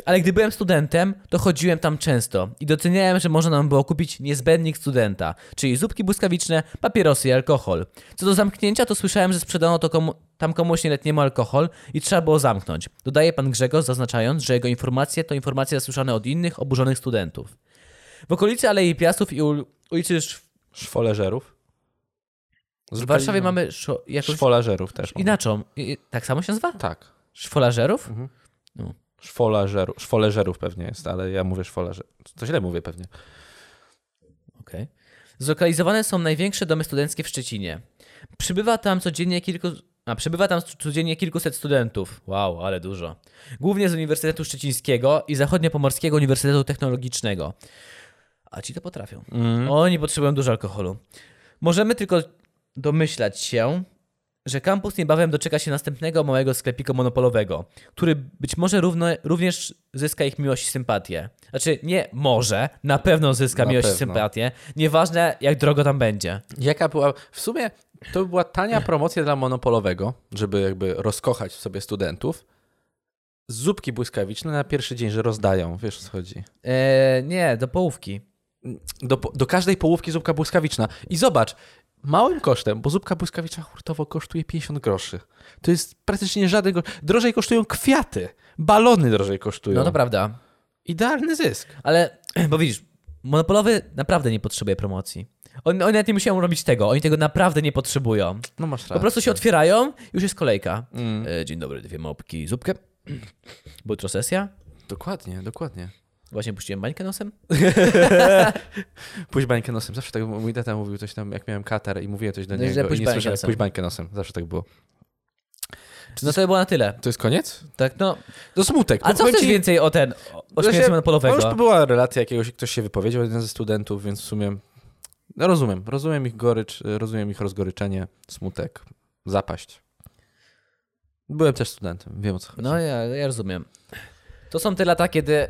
Ale gdy byłem studentem, to chodziłem tam często i doceniałem, że można nam było kupić niezbędnik studenta, czyli zupki błyskawiczne, papierosy i alkohol. Co do zamknięcia, to słyszałem, że sprzedano to komu- tam komuś nieletniemu alkohol i trzeba było zamknąć. Dodaje pan Grzegorz, zaznaczając, że jego informacje to informacje zasłyszane od innych, oburzonych studentów. W okolicy Alei Piastów i ul- ulicy Sz- Szwoleżerów? no. w Warszawie mamy szo- jakąś... Szwoleżerów też. mamy. Inaczą. I- i- Tak samo się nazywa? Tak. Szwolażerów? Szwoleżerów. Szwoleżerów pewnie jest, ale ja mówię szwoleżer. To źle mówię pewnie. Okej. Zlokalizowane są największe domy studenckie w Szczecinie. Przybywa tam codziennie kilku. A przybywa tam stu- codziennie kilkuset studentów. Wow, ale dużo. Głównie z Uniwersytetu Szczecińskiego i Zachodniopomorskiego Uniwersytetu Technologicznego. A ci to potrafią. Mhm. Oni potrzebują dużo alkoholu. Możemy tylko domyślać się, że kampus niebawem doczeka się następnego małego sklepiku monopolowego, który być może równo, również zyska ich miłość i sympatię. Znaczy, nie może, na pewno zyska Na miłość i pewno. sympatię. Nieważne, jak drogo tam będzie. Jaka była. W sumie to była tania promocja dla monopolowego, żeby jakby rozkochać w sobie studentów. Zupki błyskawiczne na pierwszy dzień, że rozdają, wiesz o co chodzi. Eee, nie, do połówki. No, Do, po- do każdej połówki zupka błyskawiczna. I zobacz, małym kosztem, bo zupka błyskawiczna hurtowo kosztuje 50 groszy. To jest praktycznie żaden. Gro... Drożej kosztują kwiaty, balony drożej kosztują. No to prawda. Idealny zysk. Ale, bo widzisz, monopolowy naprawdę nie potrzebuje promocji. On, oni nawet nie musiałem robić tego, oni tego naprawdę nie potrzebują. No masz Po rację. prostu się otwierają, już jest kolejka. Mm. E, dzień dobry, dwie mopki, zupkę. Bo jutro sesja. Dokładnie, dokładnie. Właśnie puściłem bańkę nosem. Pójdź bańkę nosem. Zawsze tak mój tata mówił coś tam, jak miałem katar i mówiłem coś do No i że niego. pójdź I nie bańkę słyszałem, nosem. pójdź bańkę nosem. Zawsze tak było. No to było na tyle. To jest koniec? Tak, no. To smutek. A co Powiem chcesz ci- więcej o ten, o- o Znaczy, śmierci No już monopolowego? była relacja jakiegoś, ktoś się wypowiedział, jeden ze studentów, więc w sumie no rozumiem. Rozumiem ich gorycz, rozumiem ich rozgoryczenie, smutek, zapaść. Byłem też studentem, wiem o co chodzi. No ja, ja rozumiem. To są te lata, kiedy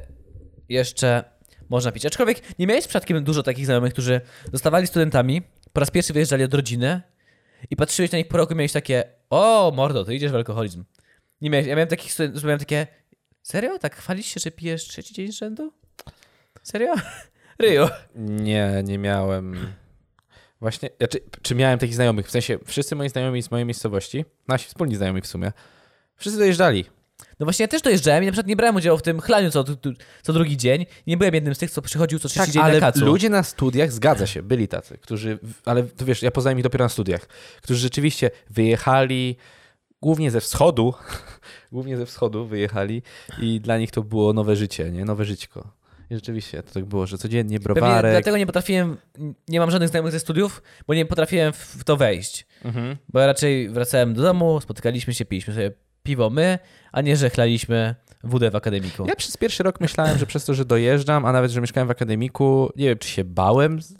jeszcze można pić. Aczkolwiek nie miałeś przypadkiem dużo takich znajomych, którzy zostawali studentami, po raz pierwszy wyjeżdżali od rodziny i patrzyłeś na nich po roku i miałeś takie o mordo, ty idziesz w alkoholizm. Nie miałeś, ja miałem takich studentów, że miałem takie serio? Tak chwalisz się, że pijesz trzeci dzień z rzędu? Serio? Ryju. Nie, nie miałem. Właśnie, znaczy, czy miałem takich znajomych? W sensie, wszyscy moi znajomi z mojej miejscowości, nasi wspólni znajomi w sumie, wszyscy dojeżdżali. No właśnie ja też dojeżdżałem i na przykład nie brałem udziału w tym chlaniu co, tu- tu- co drugi dzień. Nie byłem jednym z tych, co przychodził co trzeci dzień Tak, ale na kacu. ludzie na studiach, zgadza się, byli tacy, którzy, w- ale to wiesz, ja poznałem ich dopiero na studiach, którzy rzeczywiście wyjechali głównie ze wschodu, głównie ze wschodu wyjechali i dla nich to było nowe życie, nie? Nowe żyćko. I rzeczywiście to tak było, że codziennie Pewnie browarek. dlatego nie potrafiłem, nie mam żadnych znajomych ze studiów, bo nie potrafiłem w- w to wejść. Mhm. Bo ja raczej wracałem do domu, spotykaliśmy się, piliśmy sobie piwo my, a nie, że chlaliśmy wódę w akademiku. Ja przez pierwszy rok myślałem, że przez to, że dojeżdżam, a nawet, że mieszkałem w akademiku, nie wiem, czy się bałem z-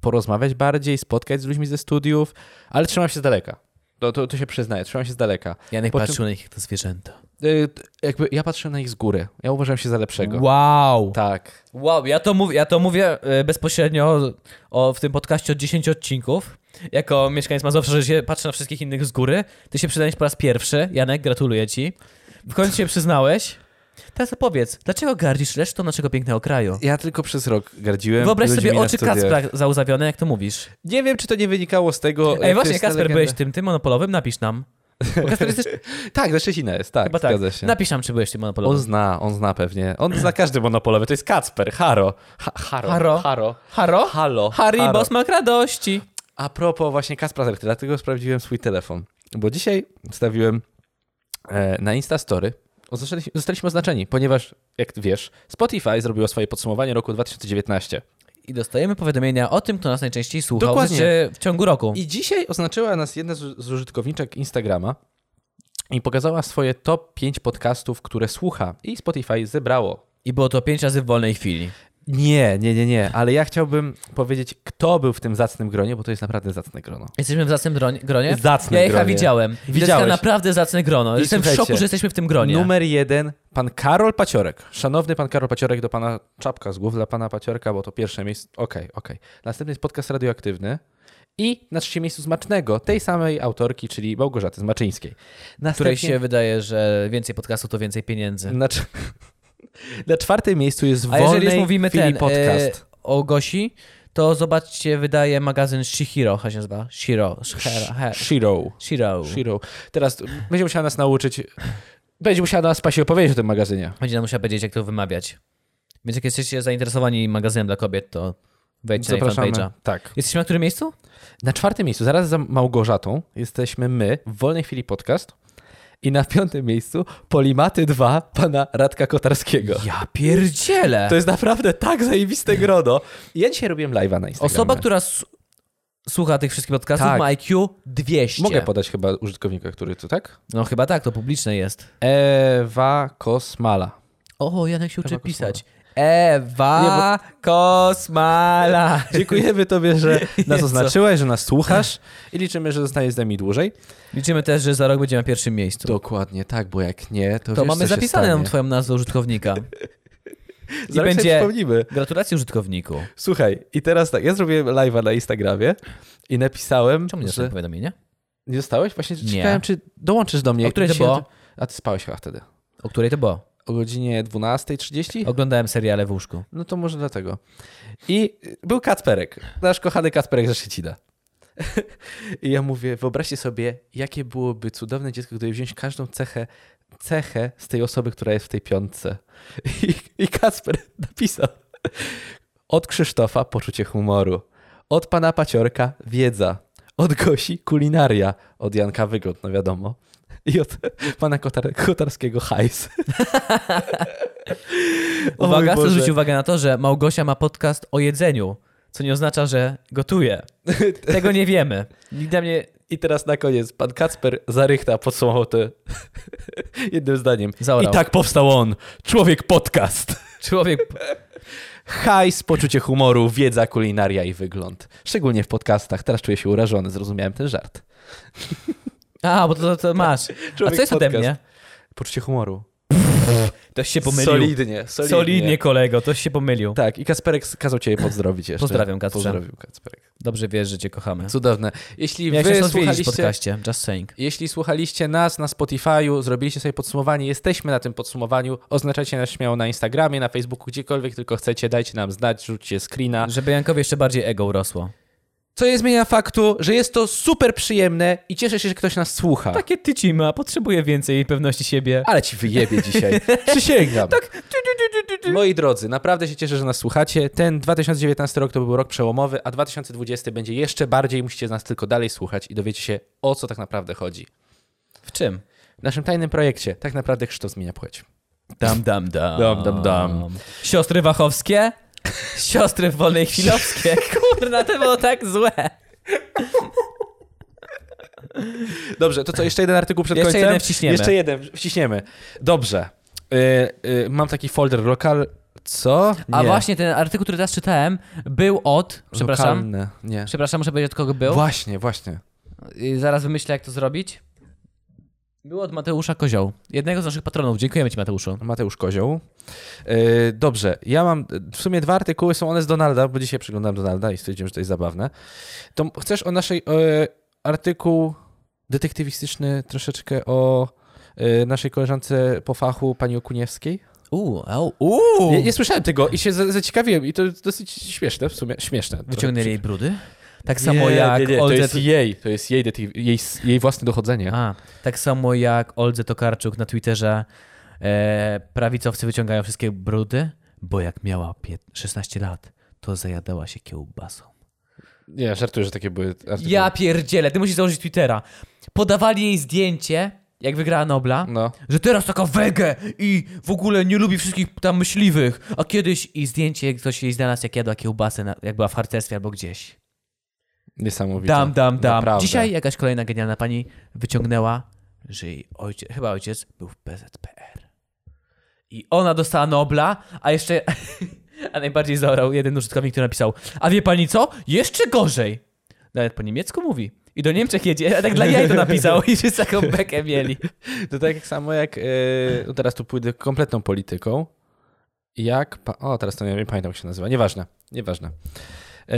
porozmawiać bardziej, spotkać z ludźmi ze studiów, ale trzymam się z daleka. To, to, to się przyznaję, trzymam się z daleka. Janek Po czym- patrzył na nich jak to zwierzęta. Y, t- jakby ja patrzę na ich z góry. Ja uważam się za lepszego. Wow! Tak. Wow, ja to, mów, ja to mówię e, bezpośrednio o, o, w tym podcaście od 10 odcinków. Jako mieszkaniec Mazowsza, że się patrzę na wszystkich innych z góry. Ty się przyznałeś po raz pierwszy. Janek, gratuluję ci. W końcu się przyznałeś. Teraz opowiedz, dlaczego gardzisz resztą naszego pięknego kraju? Ja tylko przez rok gardziłem. Wyobraź ludźmi sobie na oczy studiach. Kacpra zauzawione, jak to mówisz. Nie wiem, czy to nie wynikało z tego. jak Ej, to właśnie, jest ta Kasper, legenda. byłeś tym, tym monopolowym? Napisz nam. Bo Kasper jest też, Tak, ze Szczecina jest, tak. chyba tak. Zgadza się. Napisz nam, czy byłeś tym On monopolowym. zna, on zna pewnie. On zna każdy monopolowy. To jest Kacper, Haro. Ha, haro. Haro. Haro. Haro? Halo. Harry Haro. Bosmak radości. A propos właśnie Kaspra Zerty, dlatego sprawdziłem swój telefon. Bo dzisiaj wstawiłem e, na Instastory. Zostaliśmy, zostaliśmy oznaczeni, ponieważ, jak wiesz, Spotify zrobiło swoje podsumowanie roku 2019. i dostajemy powiadomienia o tym, kto nas najczęściej słuchał Dokładnie. Dokładnie. w ciągu roku. I dzisiaj oznaczyła nas jedna z z użytkowniczek Instagrama i pokazała swoje top 5 podcastów, które słucha i Spotify zebrało. I było to pięć razy w wolnej chwili. Nie, nie, nie, nie, ale ja chciałbym powiedzieć, kto był w tym zacnym gronie, bo to jest naprawdę zacne grono. Jesteśmy w zacnym dronie, gronie? Zacnym ja Jecha gronie. widziałem. Widziałeś. Widziałeś. tak naprawdę zacne grono. I Jestem w słuchajcie, szoku, że jesteśmy w tym gronie. Numer jeden, pan Karol Paciorek. Szanowny pan Karol Paciorek, do pana czapka z głów dla pana Paciorka, bo to pierwsze miejsce. Okej, okej. Następny jest podcast radioaktywny i na trzecim miejscu Zmacznego, tej samej autorki, czyli Małgorzaty Zmaczyńskiej. której Następnie... się wydaje, że więcej podcastów to więcej pieniędzy. Na, cz... na czwartym miejscu jest A Wolnej jeżeli już mówimy chwili ten podcast. E, o Gosi, to zobaczcie, wydaje magazyn Shihiro, chyba się nazywa. Shiro. Shihiro. he- Shiro. Shiro. Shiro. Teraz będzie musiała nas nauczyć, będzie musiała nas Pasi opowiedzieć o tym magazynie. Będzie nam musiała powiedzieć, jak to wymawiać. Więc jak jesteście zainteresowani magazynem dla kobiet, to wejdźcie Zapraszamy. na ich fanpage'a. Tak. Jesteśmy na którym miejscu? Na czwartym miejscu, zaraz za Małgorzatą, jesteśmy my, w Wolnej Chwili Podcast. I na piątym miejscu Polimaty 2 pana Radka Kotarskiego. Ja pierdzielę! To jest naprawdę tak zajebiste grono. Ja dzisiaj robiłem live'a na Instagramie. Osoba, która s- słucha tych wszystkich podcastów Tak. ma IQ 200. Mogę podać chyba użytkownika, który tu, tak? No chyba tak, to publiczne jest. Ewa Kosmala. O, Janek się uczy Ewa Kosmala. pisać. Ewa Kosmala. Dziękujemy tobie, że nas co? oznaczyłeś, że nas słuchasz i liczymy, że zostaniesz z nami dłużej. Liczymy też, że za rok będziemy na pierwszym miejscu. Dokładnie tak, bo jak nie, to To mamy zapisane nam twoją nazwę użytkownika. I Zaraz będzie... sobie przypomnimy. Gratulacje użytkowniku. Słuchaj, i teraz tak, ja zrobiłem live'a na Instagramie i napisałem, Czemu nie dostałem że... powiadomienia? Nie dostałeś? Właśnie Nie. czekałem, czy dołączysz do mnie. O której to Dzisiaj- było? A ty spałeś chyba wtedy. O której to było? O godzinie 12.30? Oglądałem seriale w łóżku. No to może dlatego. I był Kacperek, nasz kochany Kacperek ze Szczecina. I ja mówię, wyobraźcie sobie, jakie byłoby cudowne dziecko, gdyby wziąć każdą cechę, cechę z tej osoby, która jest w tej piątce. I, i Kacper napisał od Krzysztofa poczucie humoru, od pana Paciorka wiedza, od Gosi kulinaria, od Janka wygod, no wiadomo, i od pana Kotar Kotarskiego hajs. O mój Uwaga, chcę Boże. zwrócić uwagę na to, że Małgosia ma podcast o jedzeniu, co nie oznacza, że gotuje. Tego nie wiemy. Nigdy mnie I teraz na koniec pan Kacper Zarychta podsumował to jednym zdaniem. Zaorał. I tak powstał on, człowiek podcast. człowiek... Hajs, poczucie humoru, wiedza, kulinaria i wygląd. Szczególnie w podcastach. Teraz czuję się urażony, zrozumiałem ten żart. A, bo to, to, to masz. A co jest ode podcast. mnie? Poczucie humoru. Toś się pomylił. Solidnie, solidnie. Solidnie, kolego, toś się pomylił. Tak, i Kasperek kazał cię pozdrowić jeszcze. Pozdrawiam, Kacprze. Pozdrawiam, Kacperek. Dobrze wiesz, że cię kochamy. Cudowne. Jeśli Miałeś wy nas odwiedzić w słuchaliście... podcaście, just saying. Jeśli słuchaliście nas na Spotify'u, zrobiliście sobie podsumowanie, jesteśmy na tym podsumowaniu, oznaczajcie nas śmiało na Instagramie, na Facebooku, gdziekolwiek tylko chcecie, dajcie nam znać, rzućcie screena. Żeby Jankowi jeszcze bardziej ego urosło. Co nie zmienia faktu, że jest to super przyjemne i cieszę się, że ktoś nas słucha. Takie tyci ma, potrzebuje więcej pewności siebie. Ale ci wyjebie dzisiaj. Przysięgam. tak. Moi drodzy, naprawdę się cieszę, że nas słuchacie. Ten 2019 rok to był rok przełomowy, a 2020 będzie jeszcze bardziej. Musicie nas tylko dalej słuchać i dowiecie się, o co tak naprawdę chodzi. W czym? W naszym tajnym projekcie tak naprawdę Krzysztof zmienia płeć. Dam, dam, dam. Dam, dam, dam. Siostry Wachowskie? Siostry w wolnej chwilowskie. Kurna, to było tak złe. Dobrze, to co, jeszcze jeden artykuł przed Jeszcze końcem? jeden wciśniemy. Jeszcze jeden wciśniemy. Dobrze. Y, y, mam taki folder lokal... Co? A Nie. właśnie ten artykuł, który teraz czytałem, był od... Przepraszam. Lokalne. Nie. Przepraszam, muszę powiedzieć od kogo był. Właśnie, właśnie. Y, Zaraz wymyślę, jak to zrobić. Był od Mateusza Kozioł, jednego z naszych patronów. Dziękujemy ci, Mateuszu. Mateusz Kozioł. Yy, dobrze, ja mam w sumie dwa artykuły, są one z Donalda, bo dzisiaj przeglądam Donalda i stwierdziłem, że to jest zabawne. To m- chcesz o naszej e, artykuł detektywistyczny troszeczkę o e, naszej koleżance po fachu, pani Okuniewskiej? Uuu, uuu. Nie, nie słyszałem tego i się za- zaciekawiłem i to jest dosyć śmieszne w sumie, śmieszne. Wyciągnęli jej brudy? Tak Nie, samo jak nie, nie, to Oldze- jest jej, to jest jej, detektyw- jej, s- jej własne dochodzenie. A, tak samo jak Oldze Tokarczuk na Twitterze. E, prawicowcy wyciągają wszystkie brudy, bo jak miała pię- 16 lat, to zajadała się kiełbasą. Nie, żartuję, że takie były artykuły. Ja pierdzielę, ty musisz założyć Twittera. Podawali jej zdjęcie jak wygrała Nobla, No. że teraz taka wege i w ogóle nie lubi wszystkich tam myśliwych, a kiedyś i zdjęcie jak ktoś jej znalazł, jak jadła kiełbasę, na, jak była w harcerstwie albo gdzieś. Niesamowite. Dam, dam, dam. Naprawdę. Dzisiaj jakaś kolejna genialna pani wyciągnęła, że jej ojciec, chyba ojciec był w PZPR. I ona dostała Nobla, a jeszcze, a najbardziej zaorał jeden użytkownik, który napisał, a wie pani co? Jeszcze gorzej. Nawet po niemiecku mówi. I do Niemczech jedzie, a tak dla jaj to napisał i wszyscy taką bekę mieli. To tak samo jak, yy, no teraz tu pójdę kompletną polityką, jak, pa- o teraz to nie, nie pamiętam jak się nazywa, nieważne, nieważne. Yy,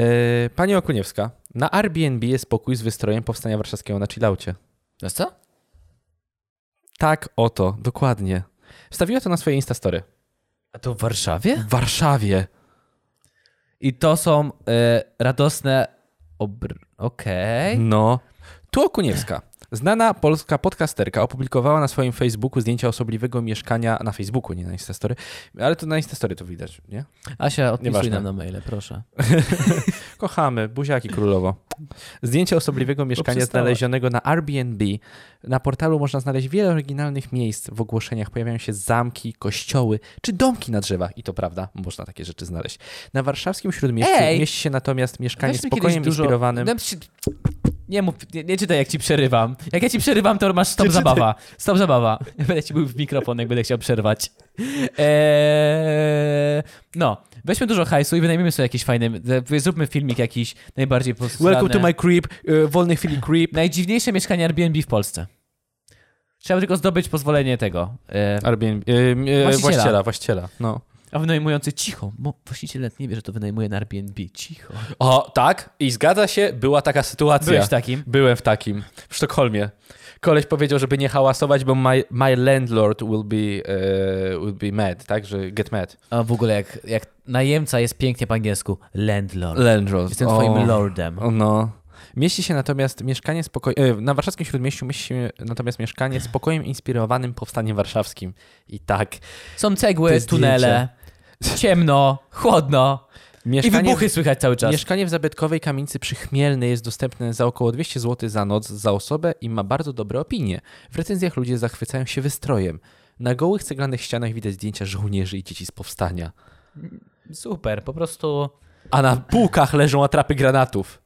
pani Okuniewska, na Airbnb jest pokój z wystrojem powstania warszawskiego na chillaucie. No co? Tak oto, dokładnie. Wstawiła to na swoje Instastory. A to w Warszawie? W Warszawie. I to są e, radosne obr... Okej. No. Tu Okuniewska. Znana polska podcasterka opublikowała na swoim Facebooku zdjęcia osobliwego mieszkania na Facebooku, nie na Instastory, ale to na Instastory to widać, nie? Asia, odpisuj Nieważne. nam na maile, proszę. Kochamy, buziaki królowo. Zdjęcie osobliwego mieszkania przestała. znalezionego na Airbnb. Na portalu można znaleźć wiele oryginalnych miejsc. W ogłoszeniach pojawiają się zamki, kościoły czy domki na drzewach. I to prawda, można takie rzeczy znaleźć. Na warszawskim Śródmieściu Ej! mieści się natomiast mieszkanie z Weźmy pokojem kiedyś dużo- inspirowanym. Dam ci- Nie mów, nie, nie czytaj jak ci przerywam. Jak ja ci przerywam, to masz stop Nie czytaj. zabawa. Stop zabawa. Będę ci był w mikrofon, jak będę chciał przerwać. Eee, no, weźmy dużo hajsu i wynajmiemy sobie jakieś fajne... Zróbmy filmik jakiś najbardziej Welcome to posrane. my creep, e, wolnej chwili creep. Najdziwniejsze mieszkanie Airbnb w Polsce. Trzeba tylko zdobyć pozwolenie tego. Eee, Airbnb, e, e, Właściciela. właściciela, właściciela. No. A wynajmujący cicho, bo właściciel nawet nie wie, że to wynajmuje na Airbnb. Cicho. O, tak? I zgadza się, była taka sytuacja. Byłeś takim? Byłem w takim, w Sztokholmie. Koleś powiedział, żeby nie hałasować, bo my, my landlord will be, e, will be mad, tak? Że get mad. A w ogóle jak, jak najemca jest pięknie po angielsku. Landlord. Landlord. Jestem twoim lordem. O, no. Mieści się natomiast mieszkanie z pokojem... Na warszawskim Śródmieściu mieści się natomiast mieszkanie z pokojem inspirowanym powstaniem warszawskim. I tak. Są Te cegły, zdjęcia. tunele, ciemno, chłodno i Mieszkanie wybuchy słychać cały czas. Mieszkanie w zabytkowej kamienicy przy Chmielnej jest dostępne za około 200 zł za noc za osobę i ma bardzo dobre opinie. W recenzjach ludzie zachwycają się wystrojem. Na gołych ceglanych ścianach widać zdjęcia żołnierzy i dzieci z powstania. Super, po prostu... A na półkach leżą atrapy granatów.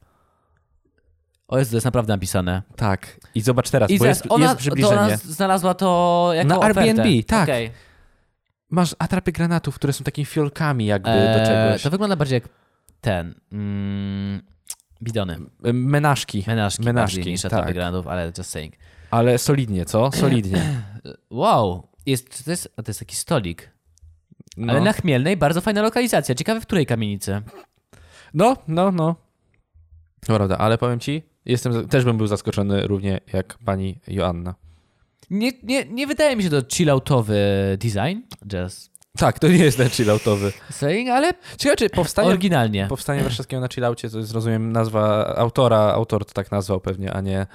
O Jezu, to jest naprawdę napisane. Tak. I zobacz teraz, bo zaraz jest, jest przybliżenie. to ona znalazła to jako Na ofertę. Airbnb, tak. Okej. Masz atrapy granatów, które są takimi fiolkami jakby do Eee, czegoś. To wygląda bardziej jak ten... Mm, bidony. Menaszki. Menażki, Menażki, bardziej niż tak. tak. granatów, ale just saying. Ale solidnie, co? Solidnie. Wow, jest, to, jest, a to jest taki stolik. No. Ale na Chmielnej bardzo fajna lokalizacja. Ciekawe, w której kamienicy. No, no, no. To prawda, ale powiem ci, jestem, też bym był zaskoczony równie jak pani Joanna. Nie, nie, nie wydaje mi się to chilloutowy design, just Tak, to nie jest ten chilloutowy. saying, ale tak Ciekawe, czy powstanie, oryginalnie. powstanie warszawskiego na chilloucie, to jest, rozumiem, nazwa autora, autor to tak nazwał pewnie, a nie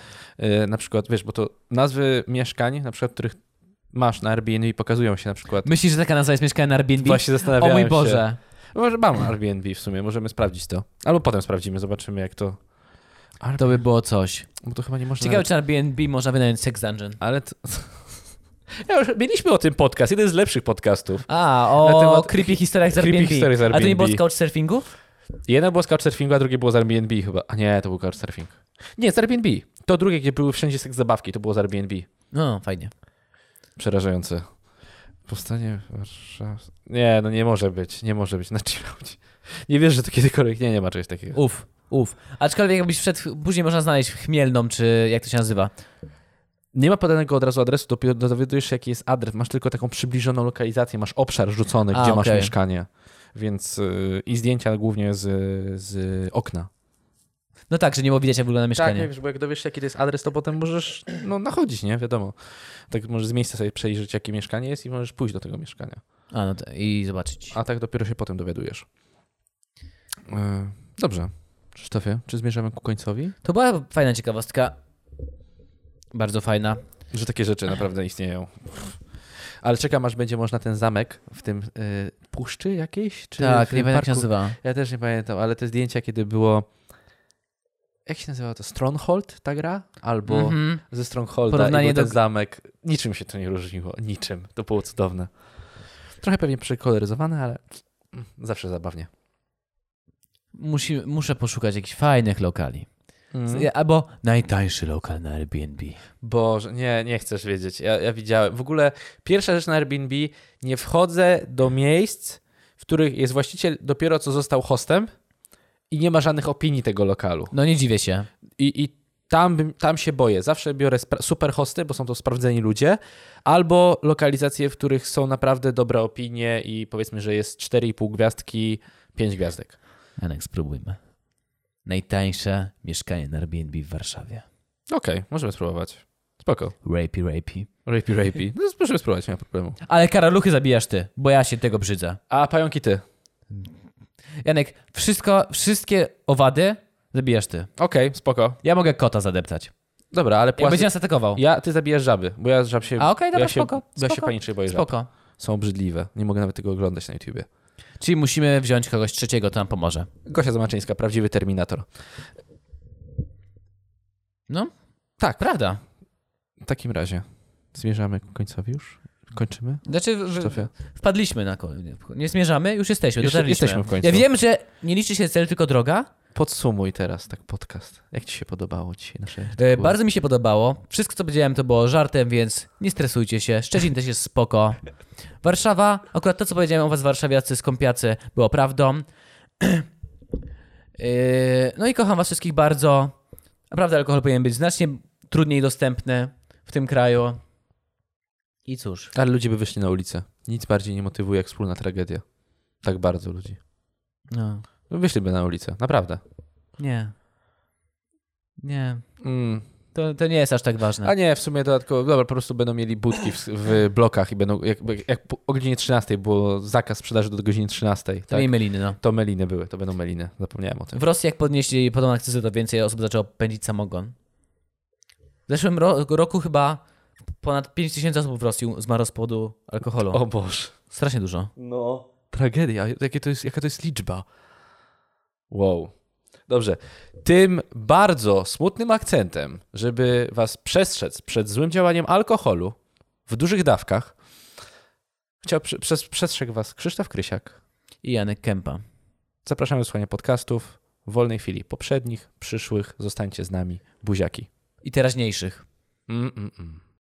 y, na przykład, wiesz, bo to nazwy mieszkań, na przykład, których masz na Airbnb pokazują się na przykład. Myślisz, że taka nazwa jest mieszkanie na Airbnb? Właśnie o zastanawiałem mój Boże. Się. Może mam Airbnb w sumie, możemy sprawdzić to. Albo potem sprawdzimy, zobaczymy jak to... To by było coś. Bo to chyba nie można... Ciekawe, czy na Airbnb można wynająć Sex Dungeon. Ale to... Ja już mieliśmy o tym podcast, jeden z lepszych podcastów. A, Na o temat- creepy historiach z creepy Airbnb. historiach z A to nie było z Airbnb. couchsurfingu? Jedno było z Couchsurfingu, a drugie było z Airbnb chyba. A nie, to był Couchsurfing. Nie, z Airbnb. To drugie, gdzie były wszędzie seks zabawki, to było z Airbnb. No, fajnie. Przerażające. Powstanie Warszawy... Nie, no nie może być, nie może być na chilloucie. Nie wiesz, że to kiedykolwiek... Nie, nie ma czegoś takiego. Uf, uf. Aczkolwiek jakbyś wszedł, później można znaleźć Chmielną, czy jak to się nazywa. Nie ma podanego od razu adresu, dopiero dowiadujesz się, jaki jest adres. Masz tylko taką przybliżoną lokalizację, masz obszar rzucony, A, gdzie masz okej. mieszkanie. Więc... Yy, I zdjęcia głównie z, z okna. No tak, że nie było widać, jak wygląda mieszkanie. Tak, wiesz, bo jak dowiesz się, jaki to jest adres, to potem możesz no, nachodzić, nie? Wiadomo. Tak możesz z miejsca sobie przejrzeć, jakie mieszkanie jest i możesz pójść do tego mieszkania. A, no to, i zobaczyć. A tak dopiero się potem dowiadujesz. E, dobrze. Krzysztofie, czy zmierzamy ku końcowi? To była fajna ciekawostka. Bardzo fajna. Że takie rzeczy naprawdę istnieją. Ale czekam, aż będzie można ten zamek w tym e, puszczy jakiejś? Czy tak, w nie pamiętam jak się parku? nazywa. Ja też nie pamiętam, ale te zdjęcia, kiedy było Jak się nazywa to? Stronghold ta gra? Albo Mhm. ze Strongholda Porównanie i był ten do- zamek. Niczym się to nie różniło. Niczym. To było cudowne. Trochę pewnie przekoloryzowane, ale mm, zawsze zabawnie. Musi, muszę poszukać jakichś fajnych lokali. Mm. Z- Albo najtańszy lokal na Airbnb. Boże, nie, nie chcesz wiedzieć. Ja, ja widziałem. W ogóle pierwsza rzecz na Airbnb, nie wchodzę do miejsc, w których jest właściciel dopiero co został hostem i nie ma żadnych opinii tego lokalu. No nie dziwię się. I, i tam, bym- tam się boję. Zawsze biorę spra- super hosty, bo są to sprawdzeni ludzie, albo lokalizacje, w których są naprawdę dobre opinie i powiedzmy, że jest 4,5 gwiazdki, 5 gwiazdek. Anek, spróbujmy. Najtańsze mieszkanie na Airbnb w Warszawie. Okej, możemy spróbować. Spoko. Rapey, rapey. Rapey, rapey. No, możemy spróbować, nie ma problemu. Ale karaluchy zabijasz ty, bo ja się tego brzydzę. A pająki ty? Janek, wszystko, wszystkie owady zabijasz ty. Okej, spoko. Ja mogę kota zadeptać. Dobra, ale Jak płasy... będzie nas atakował. Ja, ty zabijasz żaby, bo ja z żab się... A okej, dobra, ja się, spoko, Ja się spoko, panicznie boję żab. Spoko. Są obrzydliwe. Nie mogę nawet tego oglądać na YouTubie. Czyli musimy wziąć kogoś trzeciego, to nam pomoże. Gosia Zamaczyńska, prawdziwy Terminator. No? Tak. Prawda. W takim razie zmierzamy ku końcowi już? Kończymy? Znaczy, w, Szefie? wpadliśmy na koniec. Nie zmierzamy, już jesteśmy, Jeszcze- dotarliśmy. jesteśmy w końcu. Ja wiem, że nie liczy się cel, tylko droga. E, Podsumuj teraz tak podcast. Jak ci się podobało dzisiaj nasze... E, Było- Bardzo mi się podobało. Wszystko, co powiedziałem, to było żartem, więc nie stresujcie się. Szczecin też jest spoko. Warszawa, akurat to, co powiedziałem o was warszawiacy, skąpiacy, było prawdą. E, No i kocham was wszystkich bardzo. Naprawdę alkohol powinien być znacznie trudniej dostępny w tym kraju. I cóż. Ale ludzie by wyszli na ulicę. Nic bardziej nie motywuje jak wspólna tragedia. Tak bardzo ludzi. No, Wyszliby na ulicę, naprawdę. nie. Nie. Mm. To, to nie jest aż tak A ważne. nie, w sumie dodatkowo, dobra, po prostu będą mieli budki w, w blokach i będą, jakby, jak po- o godzinie 13 było zakaz sprzedaży do godziny 13, To tak? miej meliny, no. To meliny były, to będą meliny, zapomniałem o tym. W Rosji jak podnieśli podobną akcyzę, to więcej osób zaczęło pędzić samogon. W zeszłym ro roku chyba ponad 5 tysięcy osób w Rosji zmarło z powodu alkoholu. O Boże. Strasznie dużo. Tragedia, jakie to jest, jaka to jest liczba. Wow. Dobrze. Tym bardzo smutnym akcentem, żeby was przestrzec przed złym działaniem alkoholu w dużych dawkach, chciał przy- przes- przestrzegł was Krzysztof Krysiak. I Janek Kępa. Zapraszamy do słuchania podcastów w wolnej chwili poprzednich, przyszłych. Zostańcie z nami. Buziaki. I teraźniejszych. Mm, mm, mm.